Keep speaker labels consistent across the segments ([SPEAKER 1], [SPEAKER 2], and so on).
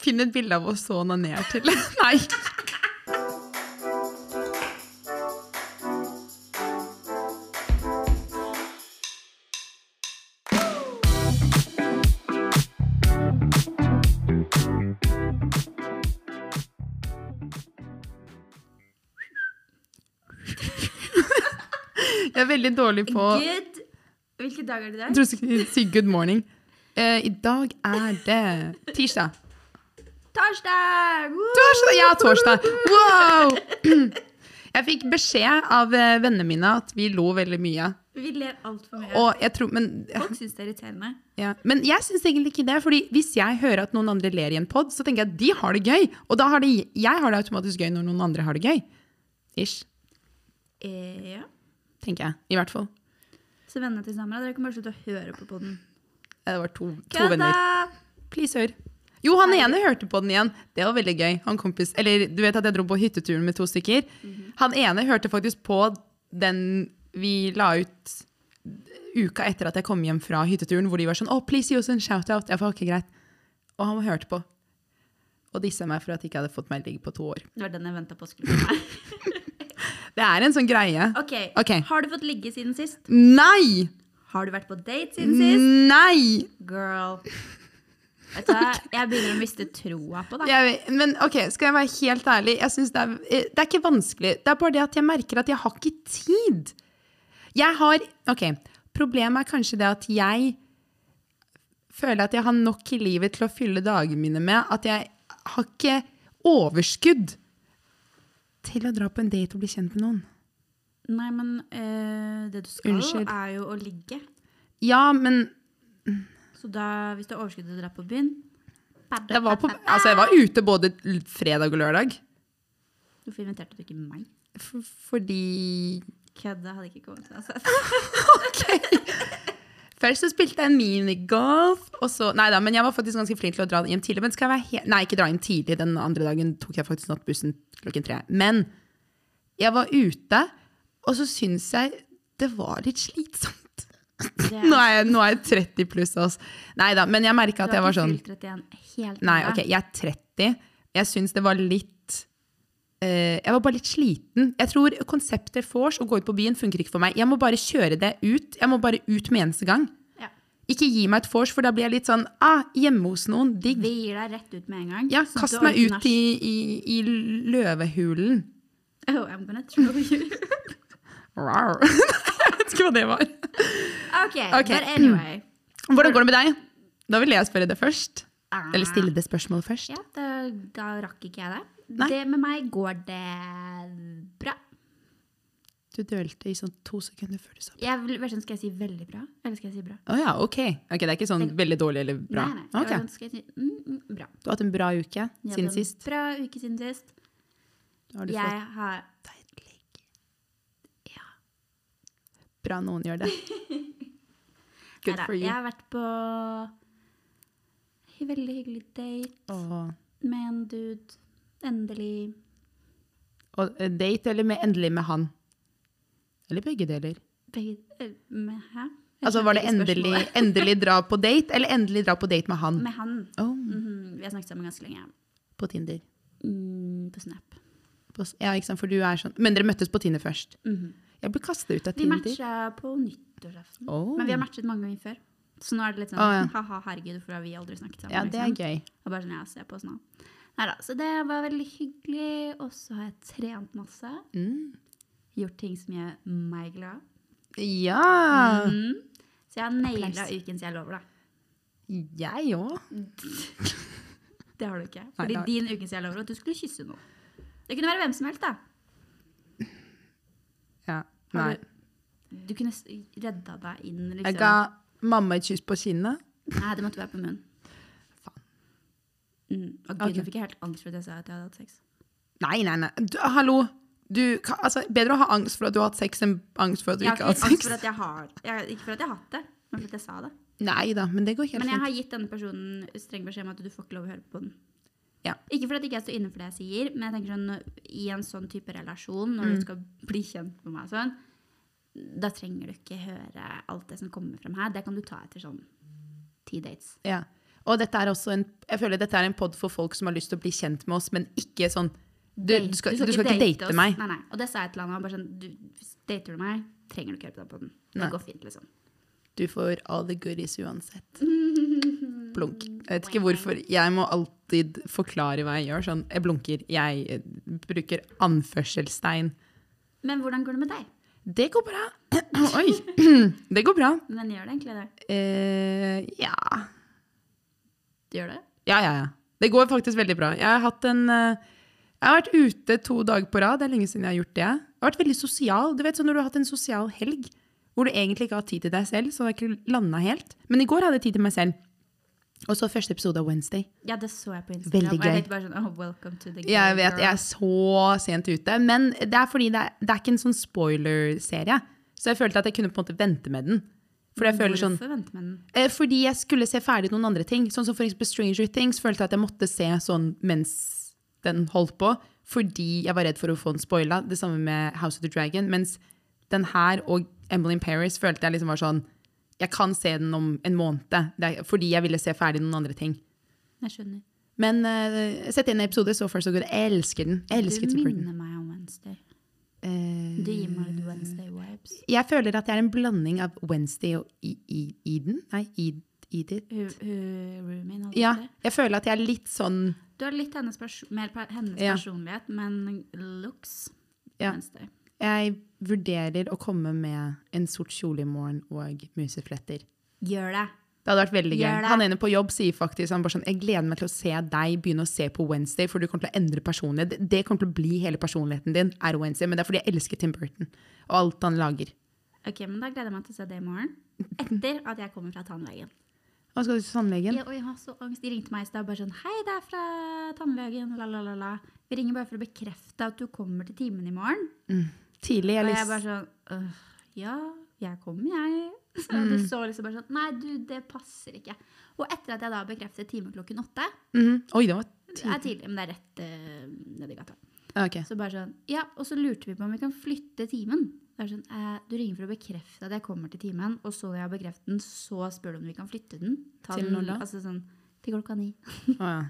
[SPEAKER 1] Finn et bilde av oss og onaner til. Nei. Jeg er veldig dårlig på
[SPEAKER 2] Good. Hvilke dager er det
[SPEAKER 1] Jeg
[SPEAKER 2] der?
[SPEAKER 1] trodde du skulle si good morning. Eh, I dag er det tirsdag.
[SPEAKER 2] Torsdag! Woo!
[SPEAKER 1] Torsdag! Ja, torsdag! Wow! Jeg fikk beskjed av eh, vennene mine at vi lo veldig mye.
[SPEAKER 2] Vi ler altfor mye.
[SPEAKER 1] Og jeg tror, men,
[SPEAKER 2] Folk syns det er irriterende.
[SPEAKER 1] ja. men jeg syns egentlig ikke det. fordi hvis jeg hører at noen andre ler i en pod, så tenker jeg at de har det gøy. Og da har de, jeg har det automatisk gøy når noen andre har det gøy. Ish,
[SPEAKER 2] Eh, ja.
[SPEAKER 1] tenker jeg. I hvert fall.
[SPEAKER 2] Så vennene til Samra, dere kan bare slutte å høre på podden.
[SPEAKER 1] Det var to, to
[SPEAKER 2] Kødda!
[SPEAKER 1] venner. Please, hør. Jo, han ene hørte på den igjen. Det var veldig gøy. Han kompis, eller du vet at jeg dro på hytteturen med to stykker. Han ene hørte faktisk på den vi la ut uka etter at jeg kom hjem fra hytteturen, hvor de var sånn oh, 'Please gi oss en shout-out.' Jeg var ikke greit. Og han hørte på. Og dissa meg for at jeg ikke hadde fått meg ligg på to år.
[SPEAKER 2] Det var den jeg venta på skulle komme.
[SPEAKER 1] Det er en sånn greie.
[SPEAKER 2] Ok.
[SPEAKER 1] Ok.
[SPEAKER 2] Har du fått ligge siden sist?
[SPEAKER 1] Nei!
[SPEAKER 2] Har du vært på
[SPEAKER 1] Mm.
[SPEAKER 2] date siden sist?
[SPEAKER 1] Nei!
[SPEAKER 2] Girl. Vet du hva? Jeg begynner å miste troa på deg.
[SPEAKER 1] Jeg, vet- men ok, skal jeg være helt ærlig? Jeg synes det, er, eh, det er ikke vanskelig. Det er bare det at jeg merker at jeg har ikke tid. Jeg har Ok, problemet er kanskje det at jeg føler at jeg har nok i livet til å fylle dagene mine med. At jeg har ikke overskudd til å dra på en date og bli kjent med noen.
[SPEAKER 2] Nei, men eh, det du skal,
[SPEAKER 1] Unnskyld.
[SPEAKER 2] er jo å ligge.
[SPEAKER 1] Ja, men
[SPEAKER 2] Så da, hvis du har overskudd til å dra på byen
[SPEAKER 1] jeg var, på, altså jeg var ute både l- fredag og lørdag.
[SPEAKER 2] Hvorfor inviterte du ikke meg?
[SPEAKER 1] F fordi
[SPEAKER 2] Kødda hadde ikke kommet. Altså.
[SPEAKER 1] Først så spilte jeg minigolf, og så Nei da, men jeg var faktisk ganske flink til å dra hjem tidlig. Men skal jeg være he nei, ikke dra hjem tidlig. Den andre dagen tok jeg faktisk nattbussen klokken tre. Men jeg var ute, og så syns jeg det var litt slitsomt.
[SPEAKER 2] Det,
[SPEAKER 1] Nå er jeg, nå er jeg 30 pluss, altså. Nei da, men jeg merka
[SPEAKER 2] du
[SPEAKER 1] at
[SPEAKER 2] har
[SPEAKER 1] jeg var
[SPEAKER 2] ikke
[SPEAKER 1] sånn
[SPEAKER 2] fylt 31 helt
[SPEAKER 1] Nei,
[SPEAKER 2] ennå.
[SPEAKER 1] ok, jeg er 30. Jeg syns det var litt eh, Jeg var bare litt sliten. Jeg tror konseptet vors å gå ut på byen funker ikke for meg. Jeg må bare kjøre det ut. Jeg må bare ut med eneste gang.
[SPEAKER 2] Ja.
[SPEAKER 1] Ikke gi meg et vors, for da blir jeg litt sånn ah, hjemme hos noen, digg.
[SPEAKER 2] Vi gir deg rett ut med en gang.
[SPEAKER 1] Ja,
[SPEAKER 2] Så
[SPEAKER 1] kast
[SPEAKER 2] du
[SPEAKER 1] meg
[SPEAKER 2] orker
[SPEAKER 1] ut i, i, i løvehulen.
[SPEAKER 2] nach. Oh, I'm gonna throw you.
[SPEAKER 1] Rar. jeg vet ikke hva det var.
[SPEAKER 2] Ok,
[SPEAKER 1] Ok.
[SPEAKER 2] but anyway.
[SPEAKER 1] Hvordan går det med deg? Da vil jeg spørre det først.
[SPEAKER 2] Ah.
[SPEAKER 1] Eller stille det spørsmålet først.
[SPEAKER 2] Ja, da, da rakk ikke jeg det.
[SPEAKER 1] Nei.
[SPEAKER 2] Det med meg går det bra.
[SPEAKER 1] Du dølte i sånn to sekunder før du sa
[SPEAKER 2] Jeg, vil- hva skal jeg si veldig bra, eller skal jeg si bra?
[SPEAKER 1] Å ja, ok. Ok, Det er ikke sånn veldig dårlig eller bra?
[SPEAKER 2] Nei, nei.
[SPEAKER 1] Ok.
[SPEAKER 2] Jeg, skal jeg si, mm, mm, bra.
[SPEAKER 1] Du har hatt en bra uke
[SPEAKER 2] Jeg
[SPEAKER 1] siden
[SPEAKER 2] hadde en
[SPEAKER 1] sist.
[SPEAKER 2] Bra uke siden sist.
[SPEAKER 1] Har du fått
[SPEAKER 2] Jeg har
[SPEAKER 1] deg et ligg? Ja. Bra noen gjør det. Good
[SPEAKER 2] Neida,
[SPEAKER 1] for you.
[SPEAKER 2] Jeg har vært på en veldig hyggelig date
[SPEAKER 1] Og,
[SPEAKER 2] med en dude. Endelig.
[SPEAKER 1] og eh, date eller med, endelig med han? Eller begge deler?
[SPEAKER 2] Begge, eh, med, hæ? Jeg
[SPEAKER 1] Altså
[SPEAKER 2] skjønte
[SPEAKER 1] Var det
[SPEAKER 2] ikke
[SPEAKER 1] endelig,
[SPEAKER 2] spørsmålet.
[SPEAKER 1] endelig dra på date, eller endelig dra på date med han?
[SPEAKER 2] Med han.
[SPEAKER 1] Oh,
[SPEAKER 2] Mhm, vi har snakket sammen ganske lenge.
[SPEAKER 1] på Tinder.
[SPEAKER 2] Mm, på Snap.
[SPEAKER 1] På, s- ja, ikke sant, for du er sånn. Men dere møttes på Tinder først.
[SPEAKER 2] Mhm.
[SPEAKER 1] Jeg ble kastet ut av
[SPEAKER 2] Vi
[SPEAKER 1] Tinder.
[SPEAKER 2] matcha på nyttårsaften.
[SPEAKER 1] Oh.
[SPEAKER 2] Men vi har matchet mange ganger før. Så nå er det litt sånn
[SPEAKER 1] Å, ja.
[SPEAKER 2] ha-ha, herregud, hvorfor har vi aldri snakket sammen?
[SPEAKER 1] Ja, det er
[SPEAKER 2] liksom?
[SPEAKER 1] gøy.
[SPEAKER 2] Og bare sånn, ja, se på oss nå. Neida, så det var veldig hyggelig. Og så har jeg trent masse.
[SPEAKER 1] Mm.
[SPEAKER 2] Gjort ting som gjør meg glad.
[SPEAKER 1] Ja!
[SPEAKER 2] Mhm. Så jeg har naila
[SPEAKER 1] Ah. Applaus.
[SPEAKER 2] ukens jeg lover, da. Mm.
[SPEAKER 1] Jeg òg.
[SPEAKER 2] Det har du ikke.
[SPEAKER 1] Nei,
[SPEAKER 2] Fordi
[SPEAKER 1] det har-
[SPEAKER 2] din ukens jeg lover at du skulle kysse noen. Det kunne være hvem som helst, da.
[SPEAKER 1] Ja.
[SPEAKER 2] Har
[SPEAKER 1] Nei.
[SPEAKER 2] du- liksom- Du kunne s- redda deg inn, liksom.
[SPEAKER 1] Jeg ga mamma et kyss på kinnet.
[SPEAKER 2] Nei, det måtte være på munnen.
[SPEAKER 1] Faen.
[SPEAKER 2] Mm. Og gud,
[SPEAKER 1] Ok.
[SPEAKER 2] nå fikk jeg helt angst for at jeg sa at jeg hadde hatt sex.
[SPEAKER 1] Nei, nei, nei. Du, hallo. Du, ka- altså, bedre å ha angst for at du har hatt sex, enn angst for at du
[SPEAKER 2] Jeg har
[SPEAKER 1] ikke har hatt
[SPEAKER 2] angst
[SPEAKER 1] sex.
[SPEAKER 2] for at jeg har jeg, Ikke for at jeg har hatt det, men for at jeg sa det.
[SPEAKER 1] Nei da, men det går helt
[SPEAKER 2] Men jeg
[SPEAKER 1] fint.
[SPEAKER 2] har gitt denne personen streng beskjed om at du får ikke lov å høre på den.
[SPEAKER 1] Ja.
[SPEAKER 2] Ikke fordi jeg ikke står inne for det jeg sier, men jeg tenker sånn, i en sånn type relasjon, når
[SPEAKER 1] Mm.
[SPEAKER 2] du skal bli kjent med meg, og sånn, da trenger du ikke høre alt det som kommer frem her. Det kan du ta etter sånn ti dates.
[SPEAKER 1] Ja. Og dette er også en, jeg føler dette er en pod for folk som har lyst til å bli kjent med oss, men ikke sånn Du, du, skal, du skal ikke date
[SPEAKER 2] oss.
[SPEAKER 1] meg.
[SPEAKER 2] Nei, nei. Og det sa jeg til han. Han bare sånn du, Dater du meg, trenger du ikke høre på den podden. Det
[SPEAKER 1] Nei.
[SPEAKER 2] går fint, liksom.
[SPEAKER 1] Du får all the goodies uansett. Blunk. Jeg vet ikke hvorfor. Jeg må alltid forklare hva jeg gjør. Sånn, jeg blunker. Jeg eh, bruker anførselstegn.
[SPEAKER 2] Men hvordan går det med deg?
[SPEAKER 1] Det går bra. Oi. Det går bra.
[SPEAKER 2] Men gjør det egentlig det?
[SPEAKER 1] Eh, ja.
[SPEAKER 2] Du gjør det?
[SPEAKER 1] Ja, ja, ja. Det går faktisk veldig bra. Jeg har, hatt en, eh, jeg har vært ute to dager på rad. Det er lenge siden jeg har gjort det. Jeg har vært veldig sosial. Du vet sånn Når du har hatt en sosial helg hvor du egentlig ikke har tid til deg selv, så har jeg ikke landa helt. Men i går hadde jeg tid til meg selv. Og så første episode av Wednesday.
[SPEAKER 2] Ja, det så jeg på Instagram.
[SPEAKER 1] Veldig
[SPEAKER 2] og Jeg
[SPEAKER 1] gøy.
[SPEAKER 2] tenkte bare sånn, oh, welcome to the game,
[SPEAKER 1] Jeg vet,
[SPEAKER 2] girl.
[SPEAKER 1] jeg er så sent ute. Men det er fordi det er, det er ikke en sånn spoiler-serie. Så jeg følte at jeg kunne på en måte vente med den. Fordi jeg føler sånn
[SPEAKER 2] Hvorfor vente med den?
[SPEAKER 1] Eh, Fordi jeg skulle se ferdig noen andre ting. Sånn som for eksempel Stranger Things følte jeg at jeg måtte se sånn mens den holdt på. Fordi jeg var redd for å få den spoila. Det samme med House of the Dragon. Mens den her og Emily in Paris følte jeg liksom var sånn Jeg kan se den om en måned. Det er, fordi jeg ville se ferdig noen andre ting.
[SPEAKER 2] Jeg skjønner.
[SPEAKER 1] Men eh, sett igjen en episode, så far so good. Jeg elsker den. Jeg elsker
[SPEAKER 2] du
[SPEAKER 1] Tim Burton.
[SPEAKER 2] minner meg om Wednesday.
[SPEAKER 1] Eh,
[SPEAKER 2] Du gir meg litt Wednesday vibes.
[SPEAKER 1] jeg føler at jeg er en blanding av Wednesday og I- I- Eden. Nei, Ed- Edith.
[SPEAKER 2] Hun, hun roomien, holdt jeg
[SPEAKER 1] Ja,
[SPEAKER 2] på å si.
[SPEAKER 1] jeg føler at jeg er litt sånn
[SPEAKER 2] Du har litt hennes, perso mer per hennes
[SPEAKER 1] Ja.
[SPEAKER 2] personlighet, men looks
[SPEAKER 1] Ja.
[SPEAKER 2] Wednesday.
[SPEAKER 1] Jeg vurderer å komme med en sort kjole i morgen og musefletter.
[SPEAKER 2] Gjør det.
[SPEAKER 1] Det hadde vært veldig gøy.
[SPEAKER 2] Gjør det.
[SPEAKER 1] Han ene på jobb sier faktisk han bare sånn, jeg gleder meg til å se deg begynne å se på Wednesday, for du kommer til å endre personlighet. Det- Det kommer til å bli hele personligheten din, er Wednesday. Men det er fordi jeg elsker Tim Burton og alt han lager.
[SPEAKER 2] Ok, men Da gleder jeg meg til å se det i morgen. Etter at jeg kommer fra tannlegen.
[SPEAKER 1] Hva skal du til tannlegen?
[SPEAKER 2] Ja, og jeg har så angst. De ringte meg i stad bare sånn Hei, det er fra tannlegen. La, la, la, la. Vi ringer bare for å bekrefte at du kommer til timen i morgen.
[SPEAKER 1] Tidlig. Jeg
[SPEAKER 2] Og
[SPEAKER 1] lyst-
[SPEAKER 2] jeg bare sånn «Øh, Ja, jeg kommer, jeg. Så det
[SPEAKER 1] Mm.
[SPEAKER 2] så liksom bare sånn Nei, du, det passer ikke. Og etter at jeg da bekreftet time klokken åtte
[SPEAKER 1] Mhm. Oi, det var
[SPEAKER 2] Det
[SPEAKER 1] tidlig.
[SPEAKER 2] er tidlig, men det er rett uh, nedi gata.
[SPEAKER 1] Ok.
[SPEAKER 2] Så bare sånn, ja, Og så lurte vi på om vi kan flytte timen. Det er sånn, eh, Du ringer for å bekrefte at jeg kommer til timen, og så når jeg har bekreftet den, så spør du om vi kan flytte den. Ta
[SPEAKER 1] Til
[SPEAKER 2] den,
[SPEAKER 1] når da?
[SPEAKER 2] Altså sånn, til klokka ni.
[SPEAKER 1] Å, ja.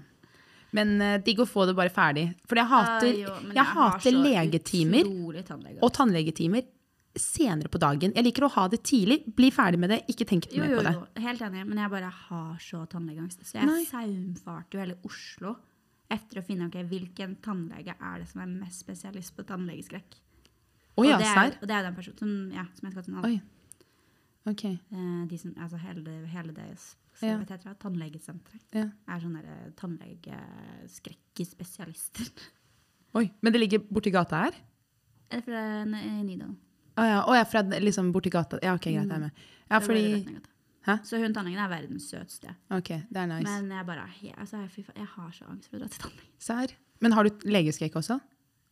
[SPEAKER 1] Men eh, digg å få det bare ferdig. For jeg hater,
[SPEAKER 2] Ah, jo, men
[SPEAKER 1] jeg
[SPEAKER 2] har
[SPEAKER 1] hater
[SPEAKER 2] så
[SPEAKER 1] legetimer.
[SPEAKER 2] utrolig tannlege.
[SPEAKER 1] og tannlegetimer senere på dagen. Jeg liker å ha det tidlig, bli ferdig med det, ikke tenk
[SPEAKER 2] Jo,
[SPEAKER 1] mer
[SPEAKER 2] jo,
[SPEAKER 1] på det.
[SPEAKER 2] jo, helt enig, men jeg bare har så tannlegeangst. Så jeg
[SPEAKER 1] Nei.
[SPEAKER 2] saumfarte jo hele Oslo etter å finne ok, hvilken tannlege er det som er mest spesialist på tannlegeskrekk.
[SPEAKER 1] Å ja,
[SPEAKER 2] og, det er,
[SPEAKER 1] serr?
[SPEAKER 2] og det er den personen som, ja, som jeg skal til nå.
[SPEAKER 1] Oi. Ok.
[SPEAKER 2] Eh, de som, altså hele, det- hele deres
[SPEAKER 1] Ja.
[SPEAKER 2] ja. heter det, tannlegesenteret
[SPEAKER 1] Ja.
[SPEAKER 2] er sånne der eh, tannlegeskrekkespesialister.
[SPEAKER 1] Oi. Men det ligger borti gata her?
[SPEAKER 2] Eller fra N- eh, Nydalen.
[SPEAKER 1] Å ja, å, ja fra liksom borti gata. Ja, ok, greit, jeg Mm. er med. Ja,
[SPEAKER 2] Det var
[SPEAKER 1] fordi
[SPEAKER 2] rett ned i gata.
[SPEAKER 1] Hæ?
[SPEAKER 2] Så hun tannlegen er verdens søteste.
[SPEAKER 1] Ok, det er nice.
[SPEAKER 2] Men jeg bare he- altså, jeg, fy faen, jeg har så angst for å dra til tannlegen.
[SPEAKER 1] Serr? Men har du legeskrekk også?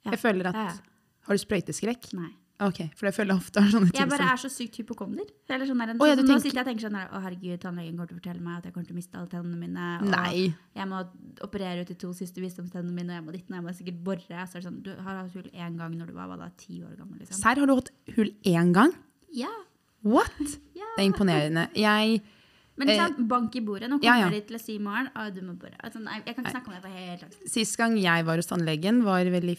[SPEAKER 2] Ja.
[SPEAKER 1] Jeg føler at
[SPEAKER 2] Ja, ja.
[SPEAKER 1] Har du sprøyteskrekk?
[SPEAKER 2] Nei.
[SPEAKER 1] Ok, for jeg føler jeg ofte har sånne ting
[SPEAKER 2] Jeg bare
[SPEAKER 1] som
[SPEAKER 2] er så sykt hypokonder. Eller sånn der, en-
[SPEAKER 1] Å, ja,
[SPEAKER 2] sånn
[SPEAKER 1] du tenker-
[SPEAKER 2] som Nå sitter jeg og tenker sånn der, Å, herregud, tannlegen kommer til å fortelle meg at jeg kommer til å miste alle tennene mine. Og
[SPEAKER 1] Nei.
[SPEAKER 2] Jeg må operere ut de to siste visdomstennene mine, og jeg må ditt, og jeg må sikkert bore. Så er det sånn, Du har hatt hull én gang når du var hva da, ti år gammel, liksom.
[SPEAKER 1] Serr, har du hatt hull én gang?
[SPEAKER 2] Ja.
[SPEAKER 1] What?!
[SPEAKER 2] ja.
[SPEAKER 1] Det er imponerende. Jeg
[SPEAKER 2] Men
[SPEAKER 1] Eh,
[SPEAKER 2] liksom, bank i bordet. Nå
[SPEAKER 1] ja,
[SPEAKER 2] kommer
[SPEAKER 1] ja.
[SPEAKER 2] de til å si i morgen «Å, du må bore. Altså, nei, jeg kan ikke snakke om det på helt langt.
[SPEAKER 1] Sist gang jeg var hos tannlegen, var vel i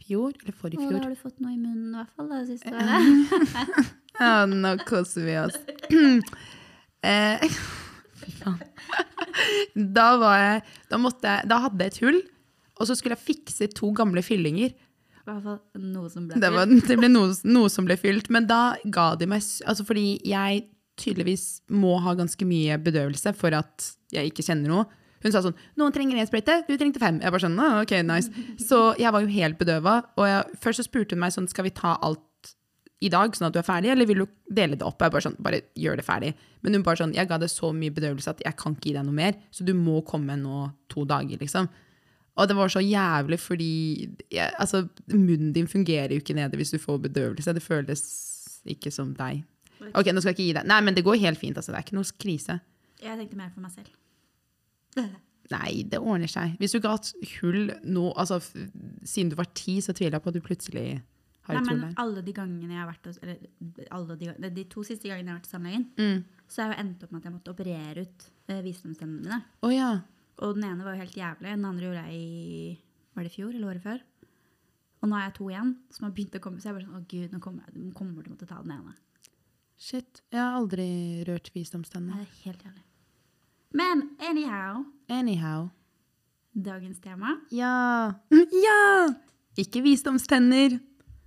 [SPEAKER 1] fjor? Eller
[SPEAKER 2] Å,
[SPEAKER 1] forrige
[SPEAKER 2] da
[SPEAKER 1] fjor? Eh.
[SPEAKER 2] har du fått noe i munnen i hvert fall da, det siste året.
[SPEAKER 1] Ja, nå koser vi oss. Eh, fy faen. da var jeg da, måtte jeg da hadde jeg et hull, og så skulle jeg fikse to gamle fyllinger.
[SPEAKER 2] I hvert fall noe som ble
[SPEAKER 1] Det, var, det ble noe, noe som ble fylt, men da ga de meg s- altså Fordi jeg tydeligvis må ha ganske mye bedøvelse for at jeg ikke kjenner noe. Hun sa sånn 'Noen trenger én sprøyte, du trengte fem.' Jeg bare sånn, «Ah, ok, nice. Så jeg var jo helt bedøva. Og jeg, først så spurte hun meg sånn 'Skal vi ta alt i dag, sånn at du er ferdig, eller vil du dele det opp?' Jeg bare sånn 'Bare gjør det ferdig'. Men hun bare sånn 'Jeg ga deg så mye bedøvelse at jeg kan ikke gi deg noe mer, så du må komme nå to dager', liksom. Og det var så jævlig, fordi jeg, altså, munnen din fungerer jo ikke nede hvis du får bedøvelse. Det føles ikke som deg. Ok, nå skal jeg ikke gi deg. Nei, men det går helt fint. Altså. Det er ikke noe krise.
[SPEAKER 2] Jeg tenkte mer for meg selv.
[SPEAKER 1] Nei, det ordner seg. Hvis du ikke har hatt hull nå, altså f- siden du var ti, så tviler jeg på at du plutselig har et
[SPEAKER 2] Nei,
[SPEAKER 1] hull
[SPEAKER 2] men
[SPEAKER 1] der.
[SPEAKER 2] alle de gangene jeg har vært hos Eller alle de, gang- de to siste gangene jeg har vært hos tannlegen,
[SPEAKER 1] Mm.
[SPEAKER 2] så har jeg jo endt opp med at jeg måtte operere ut eh, visdomstennene mine.
[SPEAKER 1] Å ja.
[SPEAKER 2] Og den ene var jo helt jævlig. Den andre gjorde jeg i Var det i fjor eller året før? Og nå har jeg to igjen som har begynt å komme. Så jeg bare sånn Å, gud, nå kommer, jeg, nå kommer du til å måtte ta den ene.
[SPEAKER 1] Shit. Jeg har aldri rørt visdomstennene.
[SPEAKER 2] Det er helt jævlig. Men anyhow
[SPEAKER 1] Anyhow.
[SPEAKER 2] Dagens tema.
[SPEAKER 1] Ja. Mm, Ja! Ikke visdomstenner.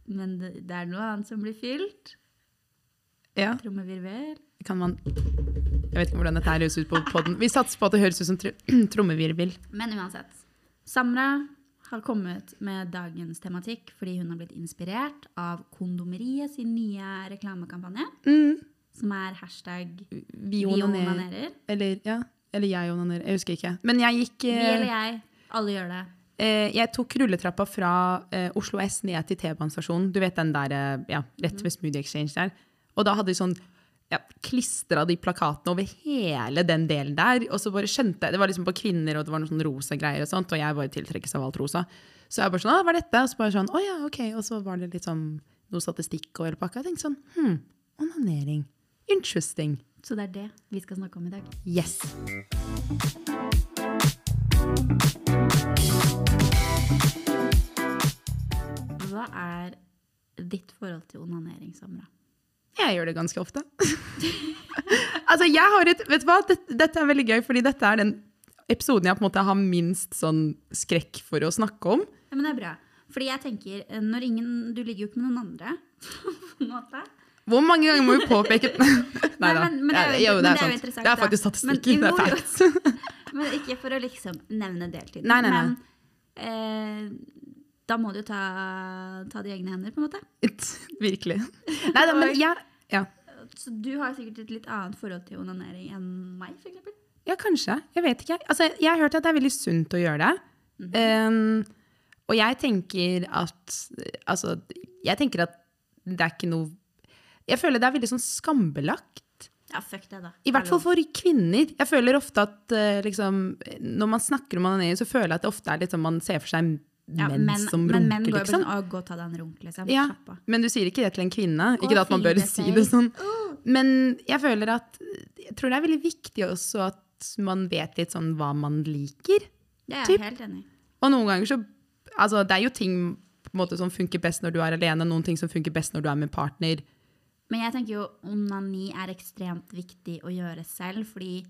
[SPEAKER 2] Men det, det er noe annet som blir fylt.
[SPEAKER 1] Ja.
[SPEAKER 2] Trommevirvel.
[SPEAKER 1] Kan man Jeg vet ikke hvordan dette her høres ut på podden. Vi satser på at det høres ut som tr trommevirvel.
[SPEAKER 2] Men uansett. Samra har kommet med dagens tematikk fordi hun har blitt inspirert av Kondomeriet sin nye reklamekampanje,
[SPEAKER 1] Mm.
[SPEAKER 2] som er hashtag
[SPEAKER 1] Vi
[SPEAKER 2] vi
[SPEAKER 1] onanerer.
[SPEAKER 2] onanerer.
[SPEAKER 1] Eller, ja. Eller jeg onanerer. Jeg husker ikke. Men jeg gikk
[SPEAKER 2] Vi
[SPEAKER 1] eh,
[SPEAKER 2] eller jeg, alle gjør det.
[SPEAKER 1] Eh, jeg tok rulletrappa fra eh, Oslo S ned til T-banestasjonen. Du vet den der, eh, ja, rett ved Smoothie Exchange der. Og da hadde de sånn ja, klistra de plakatene over hele den delen der. Og så bare skjønte jeg Det var liksom på kvinner, og det var noen sånne rosa greier og sånt. Og jeg bare tiltrekkes av alt rosa. Så jeg bare sånn Å, hva er dette? Og så bare sånn Å ja, OK. Og så var det litt sånn noe statistikk og hele pakka. Jeg tenkte sånn Hm, onanering. Interesting.
[SPEAKER 2] Så det er det vi skal snakke om i dag.
[SPEAKER 1] Yes.
[SPEAKER 2] Hva er ditt forhold til onanering, Samra?
[SPEAKER 1] Jeg gjør det ganske ofte. altså, jeg har et Vet du hva, dette, dette er veldig gøy, fordi dette er den episoden jeg på en måte har minst sånn skrekk for å snakke om.
[SPEAKER 2] Ja, men det er bra. Fordi jeg tenker, eh, når ingen, du ligger jo ikke med noen andre, på en måte.
[SPEAKER 1] Hvor mange ganger må vi påpeke Nei da.
[SPEAKER 2] men- men det er jo-
[SPEAKER 1] Ja,
[SPEAKER 2] men det er jo
[SPEAKER 1] sant.
[SPEAKER 2] interessant,
[SPEAKER 1] Det er
[SPEAKER 2] da.
[SPEAKER 1] faktisk
[SPEAKER 2] Men-
[SPEAKER 1] statistikken. Det
[SPEAKER 2] jo,
[SPEAKER 1] er
[SPEAKER 2] jo.
[SPEAKER 1] facts.
[SPEAKER 2] Men ikke for å liksom nevne deltid.
[SPEAKER 1] Nei, nei, nei.
[SPEAKER 2] Men eh, da må du jo ta, ta det i egne hender, på en måte.
[SPEAKER 1] Virkelig. Nei da, men jeg ja.
[SPEAKER 2] Så du har sikkert et litt annet forhold til onanering enn meg, for eksempel.
[SPEAKER 1] Ja, kanskje. Jeg vet ikke. Altså, jeg har hørt at det er veldig sunt å gjøre det.
[SPEAKER 2] Mhm.
[SPEAKER 1] um, og jeg tenker at Altså, jeg tenker at det er ikke noe Jeg føler det er veldig sånn skambelagt.
[SPEAKER 2] Ja, fuck det, da.
[SPEAKER 1] I hvert fall for kvinner. Jeg føler ofte at eh, liksom, når man snakker om onanering, så føler jeg at det ofte er litt sånn man ser for seg menn
[SPEAKER 2] ja, men,
[SPEAKER 1] som
[SPEAKER 2] Men menn
[SPEAKER 1] runker,
[SPEAKER 2] går jo
[SPEAKER 1] liksom.
[SPEAKER 2] sånn Å, gå og ta deg en runk, liksom.
[SPEAKER 1] Ja,
[SPEAKER 2] Slapp av.
[SPEAKER 1] men du sier ikke det til en kvinne.
[SPEAKER 2] Gå
[SPEAKER 1] Ikke det at man bør
[SPEAKER 2] fire
[SPEAKER 1] si det
[SPEAKER 2] seg.
[SPEAKER 1] sånn. Men jeg føler at Jeg tror det er veldig viktig også at man vet litt sånn hva man liker.
[SPEAKER 2] Det er
[SPEAKER 1] Typ.
[SPEAKER 2] jeg helt enig i.
[SPEAKER 1] Og noen ganger så Altså, det er jo ting på en måte, som funker best når du er alene, noen ting som funker best når du er med partner.
[SPEAKER 2] Men jeg tenker jo onani er ekstremt viktig å gjøre selv, fordi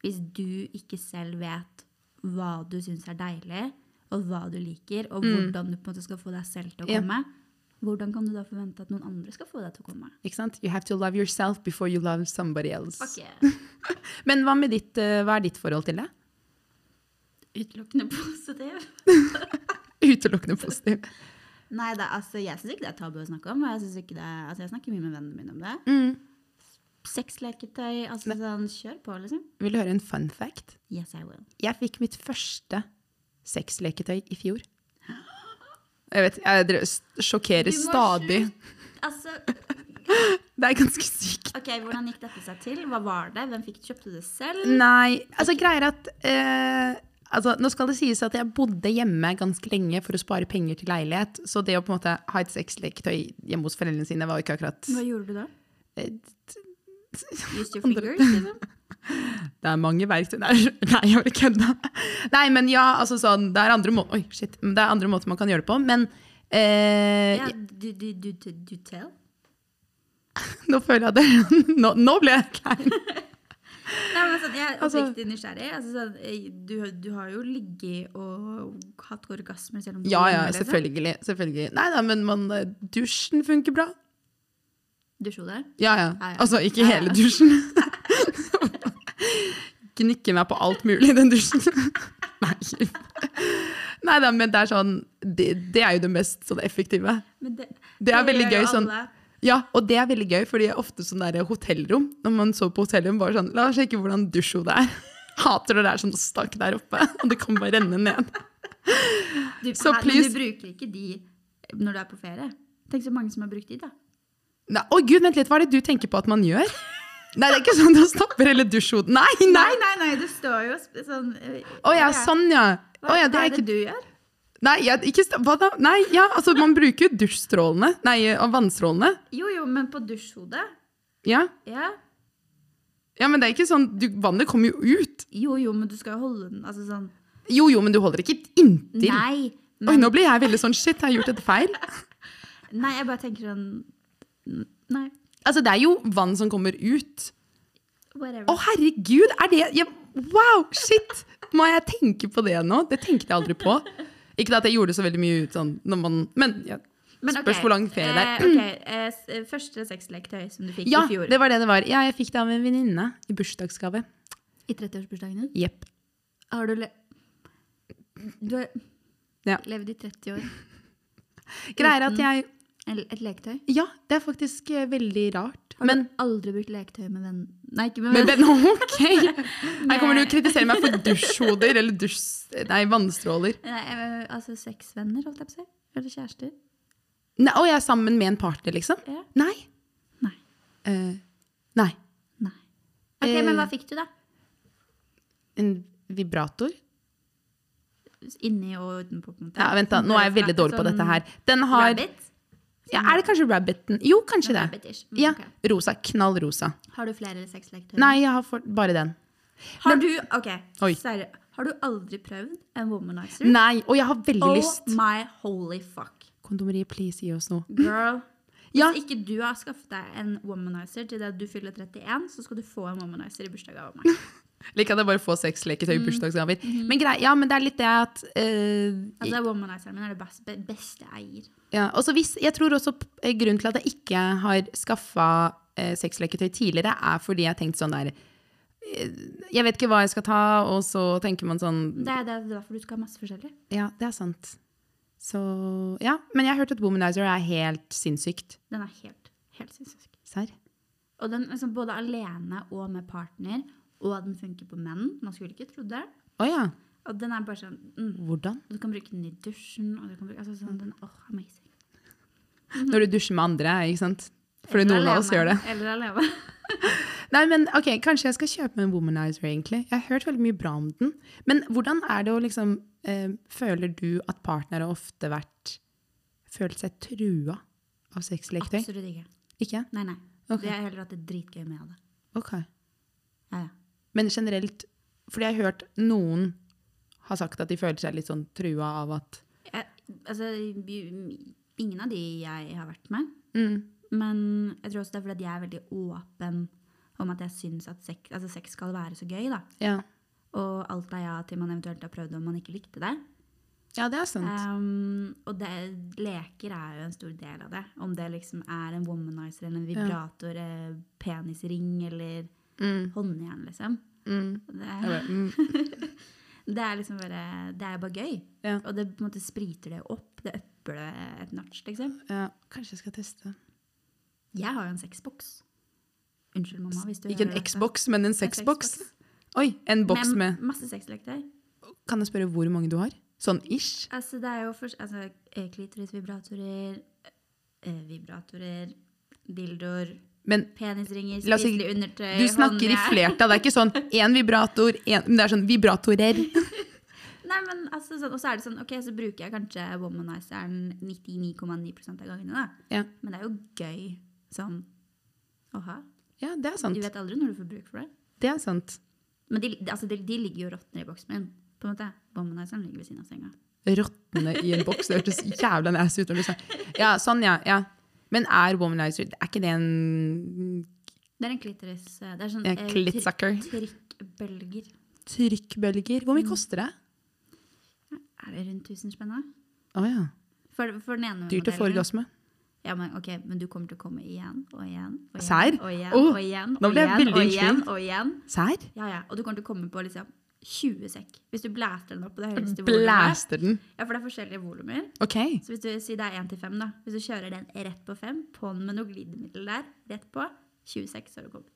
[SPEAKER 2] hvis du ikke selv vet hva du syns er deilig, og hva du liker, og hvordan du på en måte skal få deg selv til å
[SPEAKER 1] Ja.
[SPEAKER 2] komme, hvordan kan du da forvente at noen andre skal få deg til å komme?
[SPEAKER 1] Ikke sant? You have to love yourself before you love somebody else.
[SPEAKER 2] Fuck yeah.
[SPEAKER 1] Men hva, med ditt, eh, hva er ditt forhold til det?
[SPEAKER 2] Utelukkende positiv.
[SPEAKER 1] Utelukkende positiv.
[SPEAKER 2] Nei, det, er- altså, jeg syns ikke det er tabu å snakke om. Og jeg, synes ikke det, er- altså, jeg snakker mye med vennene mine om det. Sexleketøy, altså sånn, kjør på, liksom.
[SPEAKER 1] Vil du høre en fun fact?
[SPEAKER 2] Yes, I will.
[SPEAKER 1] Jeg fikk mitt første sexleketøy i fjor. Jeg vet, jeg dre- s- sjokkerer
[SPEAKER 2] Du må
[SPEAKER 1] stadig.
[SPEAKER 2] Altså,
[SPEAKER 1] Det er ganske sykt.
[SPEAKER 2] ok, Hvordan gikk dette seg til? Hva var det? Hvem fikk kjøpte det selv?
[SPEAKER 1] Nei, altså greier at eh, altså, Nå skal det sies at jeg bodde hjemme ganske lenge for å spare penger til leilighet, så det å på en måte ha et sexleketøy hjemme hos foreldrene sine var jo ikke akkurat
[SPEAKER 2] Hva gjorde du da?
[SPEAKER 1] eh,
[SPEAKER 2] Used your
[SPEAKER 1] Andre-
[SPEAKER 2] fingers, liksom?
[SPEAKER 1] Det er mange verktøy Nei, nei jeg bare kødda. Nei, men ja, altså sånn Det er andre, må Oi, shit. Men Det er andre måter man kan gjøre det på, men eh,
[SPEAKER 2] Ja, du, du, du, du, du tell?
[SPEAKER 1] Nå føler jeg det Nå, nå ble jeg klein.
[SPEAKER 2] Nei, men sånn, jeg er
[SPEAKER 1] Altså-
[SPEAKER 2] oppriktig nysgjerrig. Altså, sånn, eh, du, du har jo ligget og hatt orgasmer selv om du
[SPEAKER 1] Ja, ja,
[SPEAKER 2] gjorde det, liksom.
[SPEAKER 1] selvfølgelig. selvfølgelig. Nei da, men man, eh, dusjen funker bra.
[SPEAKER 2] Dusjo der?
[SPEAKER 1] Ja, ja.
[SPEAKER 2] Ja, ja.
[SPEAKER 1] Altså, ikke
[SPEAKER 2] Ja, ja.
[SPEAKER 1] hele dusjen. Gnikke meg på alt mulig i den dusjen. Nei. Nei da, men det er sånn Det, det er jo det mest sånn effektive.
[SPEAKER 2] Men det,
[SPEAKER 1] Det er veldig
[SPEAKER 2] gjør jo
[SPEAKER 1] gøy, sånn-
[SPEAKER 2] alle.
[SPEAKER 1] Ja, og det er veldig gøy, fordi jeg er ofte sånn der hotellrom, når man så på hotellrom, bare sånn, la oss sjekke hvordan dusjo det er. Hater når det er sånn stakk der oppe, og det kan bare renne ned.
[SPEAKER 2] Du,
[SPEAKER 1] Så
[SPEAKER 2] her,
[SPEAKER 1] please-
[SPEAKER 2] Men du bruker ikke de eh, når du er på ferie. Tenk så mange som har brukt de, da.
[SPEAKER 1] Nei, å gud, vent litt, hva er det du tenker på at man gjør? Nei, det er ikke sånn, da stopper hele dusjhodet. Nei, nei!
[SPEAKER 2] nei, nei, det står jo sp- sånn
[SPEAKER 1] Å ja, sånn ja.
[SPEAKER 2] Hva,
[SPEAKER 1] Å ja, det
[SPEAKER 2] hva
[SPEAKER 1] er ikke...
[SPEAKER 2] du gjør?
[SPEAKER 1] Nei, ja, ikke... sta- Hva da? Nei, ja, altså, man bruker jo dusjstrålene, nei, og vannstrålene.
[SPEAKER 2] Jo, jo, men på dusjhodet.
[SPEAKER 1] Ja,
[SPEAKER 2] Ja.
[SPEAKER 1] Ja, men det er ikke sånn, du, Vannet kommer jo ut.
[SPEAKER 2] Jo, jo, men du skal jo holde den altså sånn
[SPEAKER 1] Jo, jo, men du holder ikke inntil.
[SPEAKER 2] Nei.
[SPEAKER 1] Oi,
[SPEAKER 2] Men,
[SPEAKER 1] nå blir jeg veldig sånn Shit, har jeg gjort et feil?
[SPEAKER 2] nei, jeg bare tenker sånn Nei,
[SPEAKER 1] Altså, det er jo vann som kommer ut.
[SPEAKER 2] whatever.
[SPEAKER 1] Å, herregud! Er det ja, Wow! Shit! Må jeg tenke på det nå? Det tenkte jeg aldri på. Ikke at jeg gjorde så veldig mye ut sånn når man Men ja,
[SPEAKER 2] Men ok,
[SPEAKER 1] spørs hvor lang ferie det
[SPEAKER 2] Eh,
[SPEAKER 1] er.
[SPEAKER 2] ok, eh, s- eh, første sexleketøy som du fikk
[SPEAKER 1] Ja,
[SPEAKER 2] i fjor.
[SPEAKER 1] det var det det var. Ja, jeg fikk det av en venninne i bursdagsgave.
[SPEAKER 2] I 30-årsbursdagen din?
[SPEAKER 1] Jepp.
[SPEAKER 2] Har du le... Du har
[SPEAKER 1] Ja.
[SPEAKER 2] levd i 30 år.
[SPEAKER 1] Greier at jeg
[SPEAKER 2] Eller et leketøy?
[SPEAKER 1] Ja, det er faktisk eh, veldig rart.
[SPEAKER 2] Har
[SPEAKER 1] Men
[SPEAKER 2] du aldri brukt leketøy med venn... Nei, ikke med
[SPEAKER 1] men
[SPEAKER 2] venn.
[SPEAKER 1] men OK! Her kommer du og kritiserer meg for dusjhoder eller dusj... Nei, vannstråler.
[SPEAKER 2] Nei, eh, altså sexvenner, holdt jeg på å si. Eller kjærester.
[SPEAKER 1] Nei, og jeg er sammen med en partner, liksom?
[SPEAKER 2] Ja.
[SPEAKER 1] Nei.
[SPEAKER 2] Nei.
[SPEAKER 1] Eh, nei.
[SPEAKER 2] Nei. Eh, Ok, Men hva fikk du, da?
[SPEAKER 1] En vibrator?
[SPEAKER 2] Inni og utenpå? på en måte.
[SPEAKER 1] Ja, vent, da. Nå er jeg veldig dårlig på dette her. Den har
[SPEAKER 2] Rabbit?
[SPEAKER 1] ja, Er det kanskje rabbiten? Jo, kanskje det.
[SPEAKER 2] Rabbit-ish. Mm,
[SPEAKER 1] Ja.
[SPEAKER 2] ok.
[SPEAKER 1] Rosa. Knall rosa.
[SPEAKER 2] Har du flere sexleketøy?
[SPEAKER 1] Nei, jeg har for, bare den.
[SPEAKER 2] Har du, ok,
[SPEAKER 1] Oi.
[SPEAKER 2] Sverre, har du aldri prøvd en womanizer?
[SPEAKER 1] Nei, og jeg har veldig
[SPEAKER 2] Oh
[SPEAKER 1] lyst.
[SPEAKER 2] my holy fuck.
[SPEAKER 1] Kondomeriet, please, gi oss noe.
[SPEAKER 2] Girl.
[SPEAKER 1] Ja.
[SPEAKER 2] Hvis ikke du har skaffet deg en womanizer til det at du fyller 31, så skal du få en womanizer i bursdagen av meg.
[SPEAKER 1] Eller kan jeg bare få seks leketøy i bursdagsgaver? Men grei, ja, men det er litt det at eh,
[SPEAKER 2] Altså, womanizeren min er det beste, be- beste jeg gir.
[SPEAKER 1] ja. også hvis, Jeg tror også p- eh, grunnen til at jeg ikke har skaffa eh, sexleketøy tidligere, er fordi jeg har tenkt sånn der eh, Jeg vet ikke hva jeg skal ta, og så tenker man sånn
[SPEAKER 2] Det er, det er derfor du skal ha masse forskjellig.
[SPEAKER 1] Ja, det er sant. Så Ja. Men jeg har hørt at womanizer er helt sinnssykt.
[SPEAKER 2] Den er helt, helt sinnssyk.
[SPEAKER 1] Serr?
[SPEAKER 2] Og den, liksom, både alene og med partner, og den funker på menn. Man skulle ikke trodd det.
[SPEAKER 1] Å ja.
[SPEAKER 2] Og den er bare sånn, mm.
[SPEAKER 1] Hvordan?
[SPEAKER 2] du kan bruke den i dusjen, og du kan bruke, altså
[SPEAKER 1] Mm.
[SPEAKER 2] sånn, den, åh, amazing.
[SPEAKER 1] Mhm. Når du dusjer med andre, ikke sant? Fordi
[SPEAKER 2] Eller
[SPEAKER 1] noen av oss
[SPEAKER 2] alene.
[SPEAKER 1] gjør det.
[SPEAKER 2] Eller alene.
[SPEAKER 1] Nei, men ok, Kanskje jeg skal kjøpe meg en womanizer, egentlig. Jeg har hørt veldig mye bra om den. Men hvordan er det å liksom eh, Føler du at partnere ofte vært Følt seg trua av sexleketøy?
[SPEAKER 2] Absolutt ikke.
[SPEAKER 1] Ikke?
[SPEAKER 2] Nei, nei.
[SPEAKER 1] Ok.
[SPEAKER 2] Det er heller at det er dritgøy med det.
[SPEAKER 1] Ok.
[SPEAKER 2] Ja, ja.
[SPEAKER 1] Men generelt Fordi jeg har hørt noen har sagt at de føler seg litt sånn trua av at
[SPEAKER 2] Jeg, altså, vi- ingen av de jeg har vært med.
[SPEAKER 1] mm,
[SPEAKER 2] Men jeg tror også det er fordi at jeg er veldig åpen om at jeg syns at sex, altså sex skal være så gøy. da.
[SPEAKER 1] ja.
[SPEAKER 2] Og alt er ja til man eventuelt har prøvd og man ikke likte det.
[SPEAKER 1] ja, det er sant.
[SPEAKER 2] Um, og det, leker er jo en stor del av det. Om det liksom er en womanizer eller en vibrator, eh, penisring eller
[SPEAKER 1] Mm,
[SPEAKER 2] håndjern, liksom.
[SPEAKER 1] mm. Jeg
[SPEAKER 2] Det,
[SPEAKER 1] bare, mm.
[SPEAKER 2] det er liksom bare Det er bare gøy.
[SPEAKER 1] Ja.
[SPEAKER 2] Og det på en måte spriter det opp. Det øpper det et natch, liksom.
[SPEAKER 1] Ja, kanskje jeg skal teste.
[SPEAKER 2] Jeg har jo en sexboks. Unnskyld, mamma. hvis du
[SPEAKER 1] Ikke en
[SPEAKER 2] hører dette.
[SPEAKER 1] Xbox, men en
[SPEAKER 2] En
[SPEAKER 1] sexbox. Oi, en boks med
[SPEAKER 2] Masse sexleketøy.
[SPEAKER 1] Kan jeg spørre hvor mange du har? Sånn ish?
[SPEAKER 2] Altså, det er jo for, altså, eh, klitorisvibratorer, eh, vibratorer, dildoer,
[SPEAKER 1] Men
[SPEAKER 2] penisringer,
[SPEAKER 1] La oss si-
[SPEAKER 2] spiselig undertøy
[SPEAKER 1] du snakker i
[SPEAKER 2] håndjern.
[SPEAKER 1] flertall. Det er ikke sånn én vibrator, én Men det er sånn vibratorer.
[SPEAKER 2] Nei, men altså, sånn, Og så er det sånn, ok, så bruker jeg kanskje womanizeren 99,9 av gangene, da.
[SPEAKER 1] Ja.
[SPEAKER 2] Men det er jo gøy sånn å ha.
[SPEAKER 1] ja, det er
[SPEAKER 2] Du
[SPEAKER 1] sant.
[SPEAKER 2] vet aldri når du får bruk for det.
[SPEAKER 1] Det er sant.
[SPEAKER 2] Men de, altså, de, de ligger jo og råtner i boksen min. på en måte. Womanizeren ligger ved siden av senga.
[SPEAKER 1] Rottene i en boks. Det hørtes jævla næs ut når du sa Ja, sånn, ja. ja. Men er womanizer Er ikke det en
[SPEAKER 2] Det er en klitoris eh, Det er sånn
[SPEAKER 1] ja,
[SPEAKER 2] eh,
[SPEAKER 1] klittsucker?
[SPEAKER 2] tryk- trykkbølger.
[SPEAKER 1] Trykkbølger. Hvor mye koster det?
[SPEAKER 2] Er det rundt 1000 spenn? da?
[SPEAKER 1] Å ja.
[SPEAKER 2] For, for den ene
[SPEAKER 1] Dyrt å få
[SPEAKER 2] modellen-
[SPEAKER 1] orgasme.
[SPEAKER 2] Ja, men, ok, men du kommer til å komme igjen og igjen og igjen.
[SPEAKER 1] Serr?
[SPEAKER 2] Og igjen,
[SPEAKER 1] Åh,
[SPEAKER 2] og igjen,
[SPEAKER 1] nå
[SPEAKER 2] og
[SPEAKER 1] ble jeg
[SPEAKER 2] igjen,
[SPEAKER 1] veldig
[SPEAKER 2] og igjen,
[SPEAKER 1] intrigued.
[SPEAKER 2] og igjen.
[SPEAKER 1] Serr?
[SPEAKER 2] Ja, ja. Og du kommer til å komme på liksom 20 sekk. Hvis du blaster den opp på det høyeste volumet.
[SPEAKER 1] Mm. Blæster den.
[SPEAKER 2] Ja, for det er forskjellige volumer.
[SPEAKER 1] OK.
[SPEAKER 2] Så hvis du sier det er 1 til 5, da. Hvis du kjører den rett på 5, på'n med noe glidemiddel der, rett på, 26 så har du kommet.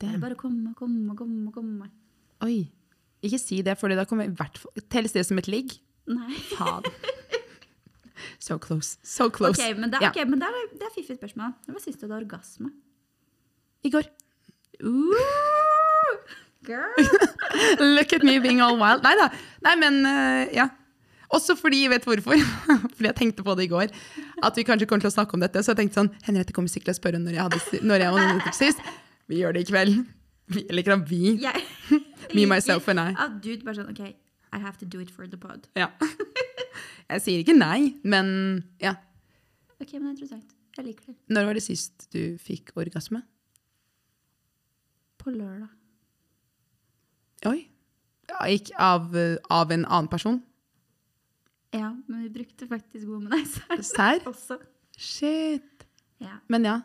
[SPEAKER 2] Det er
[SPEAKER 1] Damn.
[SPEAKER 2] bare å komme, komme, komme, komme.
[SPEAKER 1] Oi. Ikke si det, for da kommer jeg i hvert fall Telles det som et ligg?
[SPEAKER 2] Nei.
[SPEAKER 1] Faen. So close. So
[SPEAKER 2] Ok,
[SPEAKER 1] close.
[SPEAKER 2] men, det,
[SPEAKER 1] Ja.
[SPEAKER 2] ok, men det er, det er fiffig spørsmål. Hva syns du om orgasme?
[SPEAKER 1] I går.
[SPEAKER 2] Ooh, girl!
[SPEAKER 1] Look at me being all wild. Nei da. Nei, men eh, ja. Også fordi jeg vet hvorfor. fordi jeg tenkte på det i går. At vi kanskje kommer til å snakke om dette. Så jeg tenkte sånn Henriette kommer sikkert til å spørre når jeg hadde si- når jeg var sist. Vi gjør det i kveld. Vi, eller ikke da, vi.
[SPEAKER 2] Jeg,
[SPEAKER 1] Me, myself and I.
[SPEAKER 2] At dude bare sånn OK, I have to do it for the pod.
[SPEAKER 1] Ja. Jeg sier ikke nei, men ja.
[SPEAKER 2] OK, men det er interessant. Jeg liker det.
[SPEAKER 1] Når var det sist du fikk orgasme?
[SPEAKER 2] På lørdag.
[SPEAKER 1] Oi. Ja, ikke av, eh, av en annen person.
[SPEAKER 2] Ja, men vi brukte faktisk womanizer
[SPEAKER 1] Serr?
[SPEAKER 2] også.
[SPEAKER 1] Shit.
[SPEAKER 2] Ja.
[SPEAKER 1] Men ja.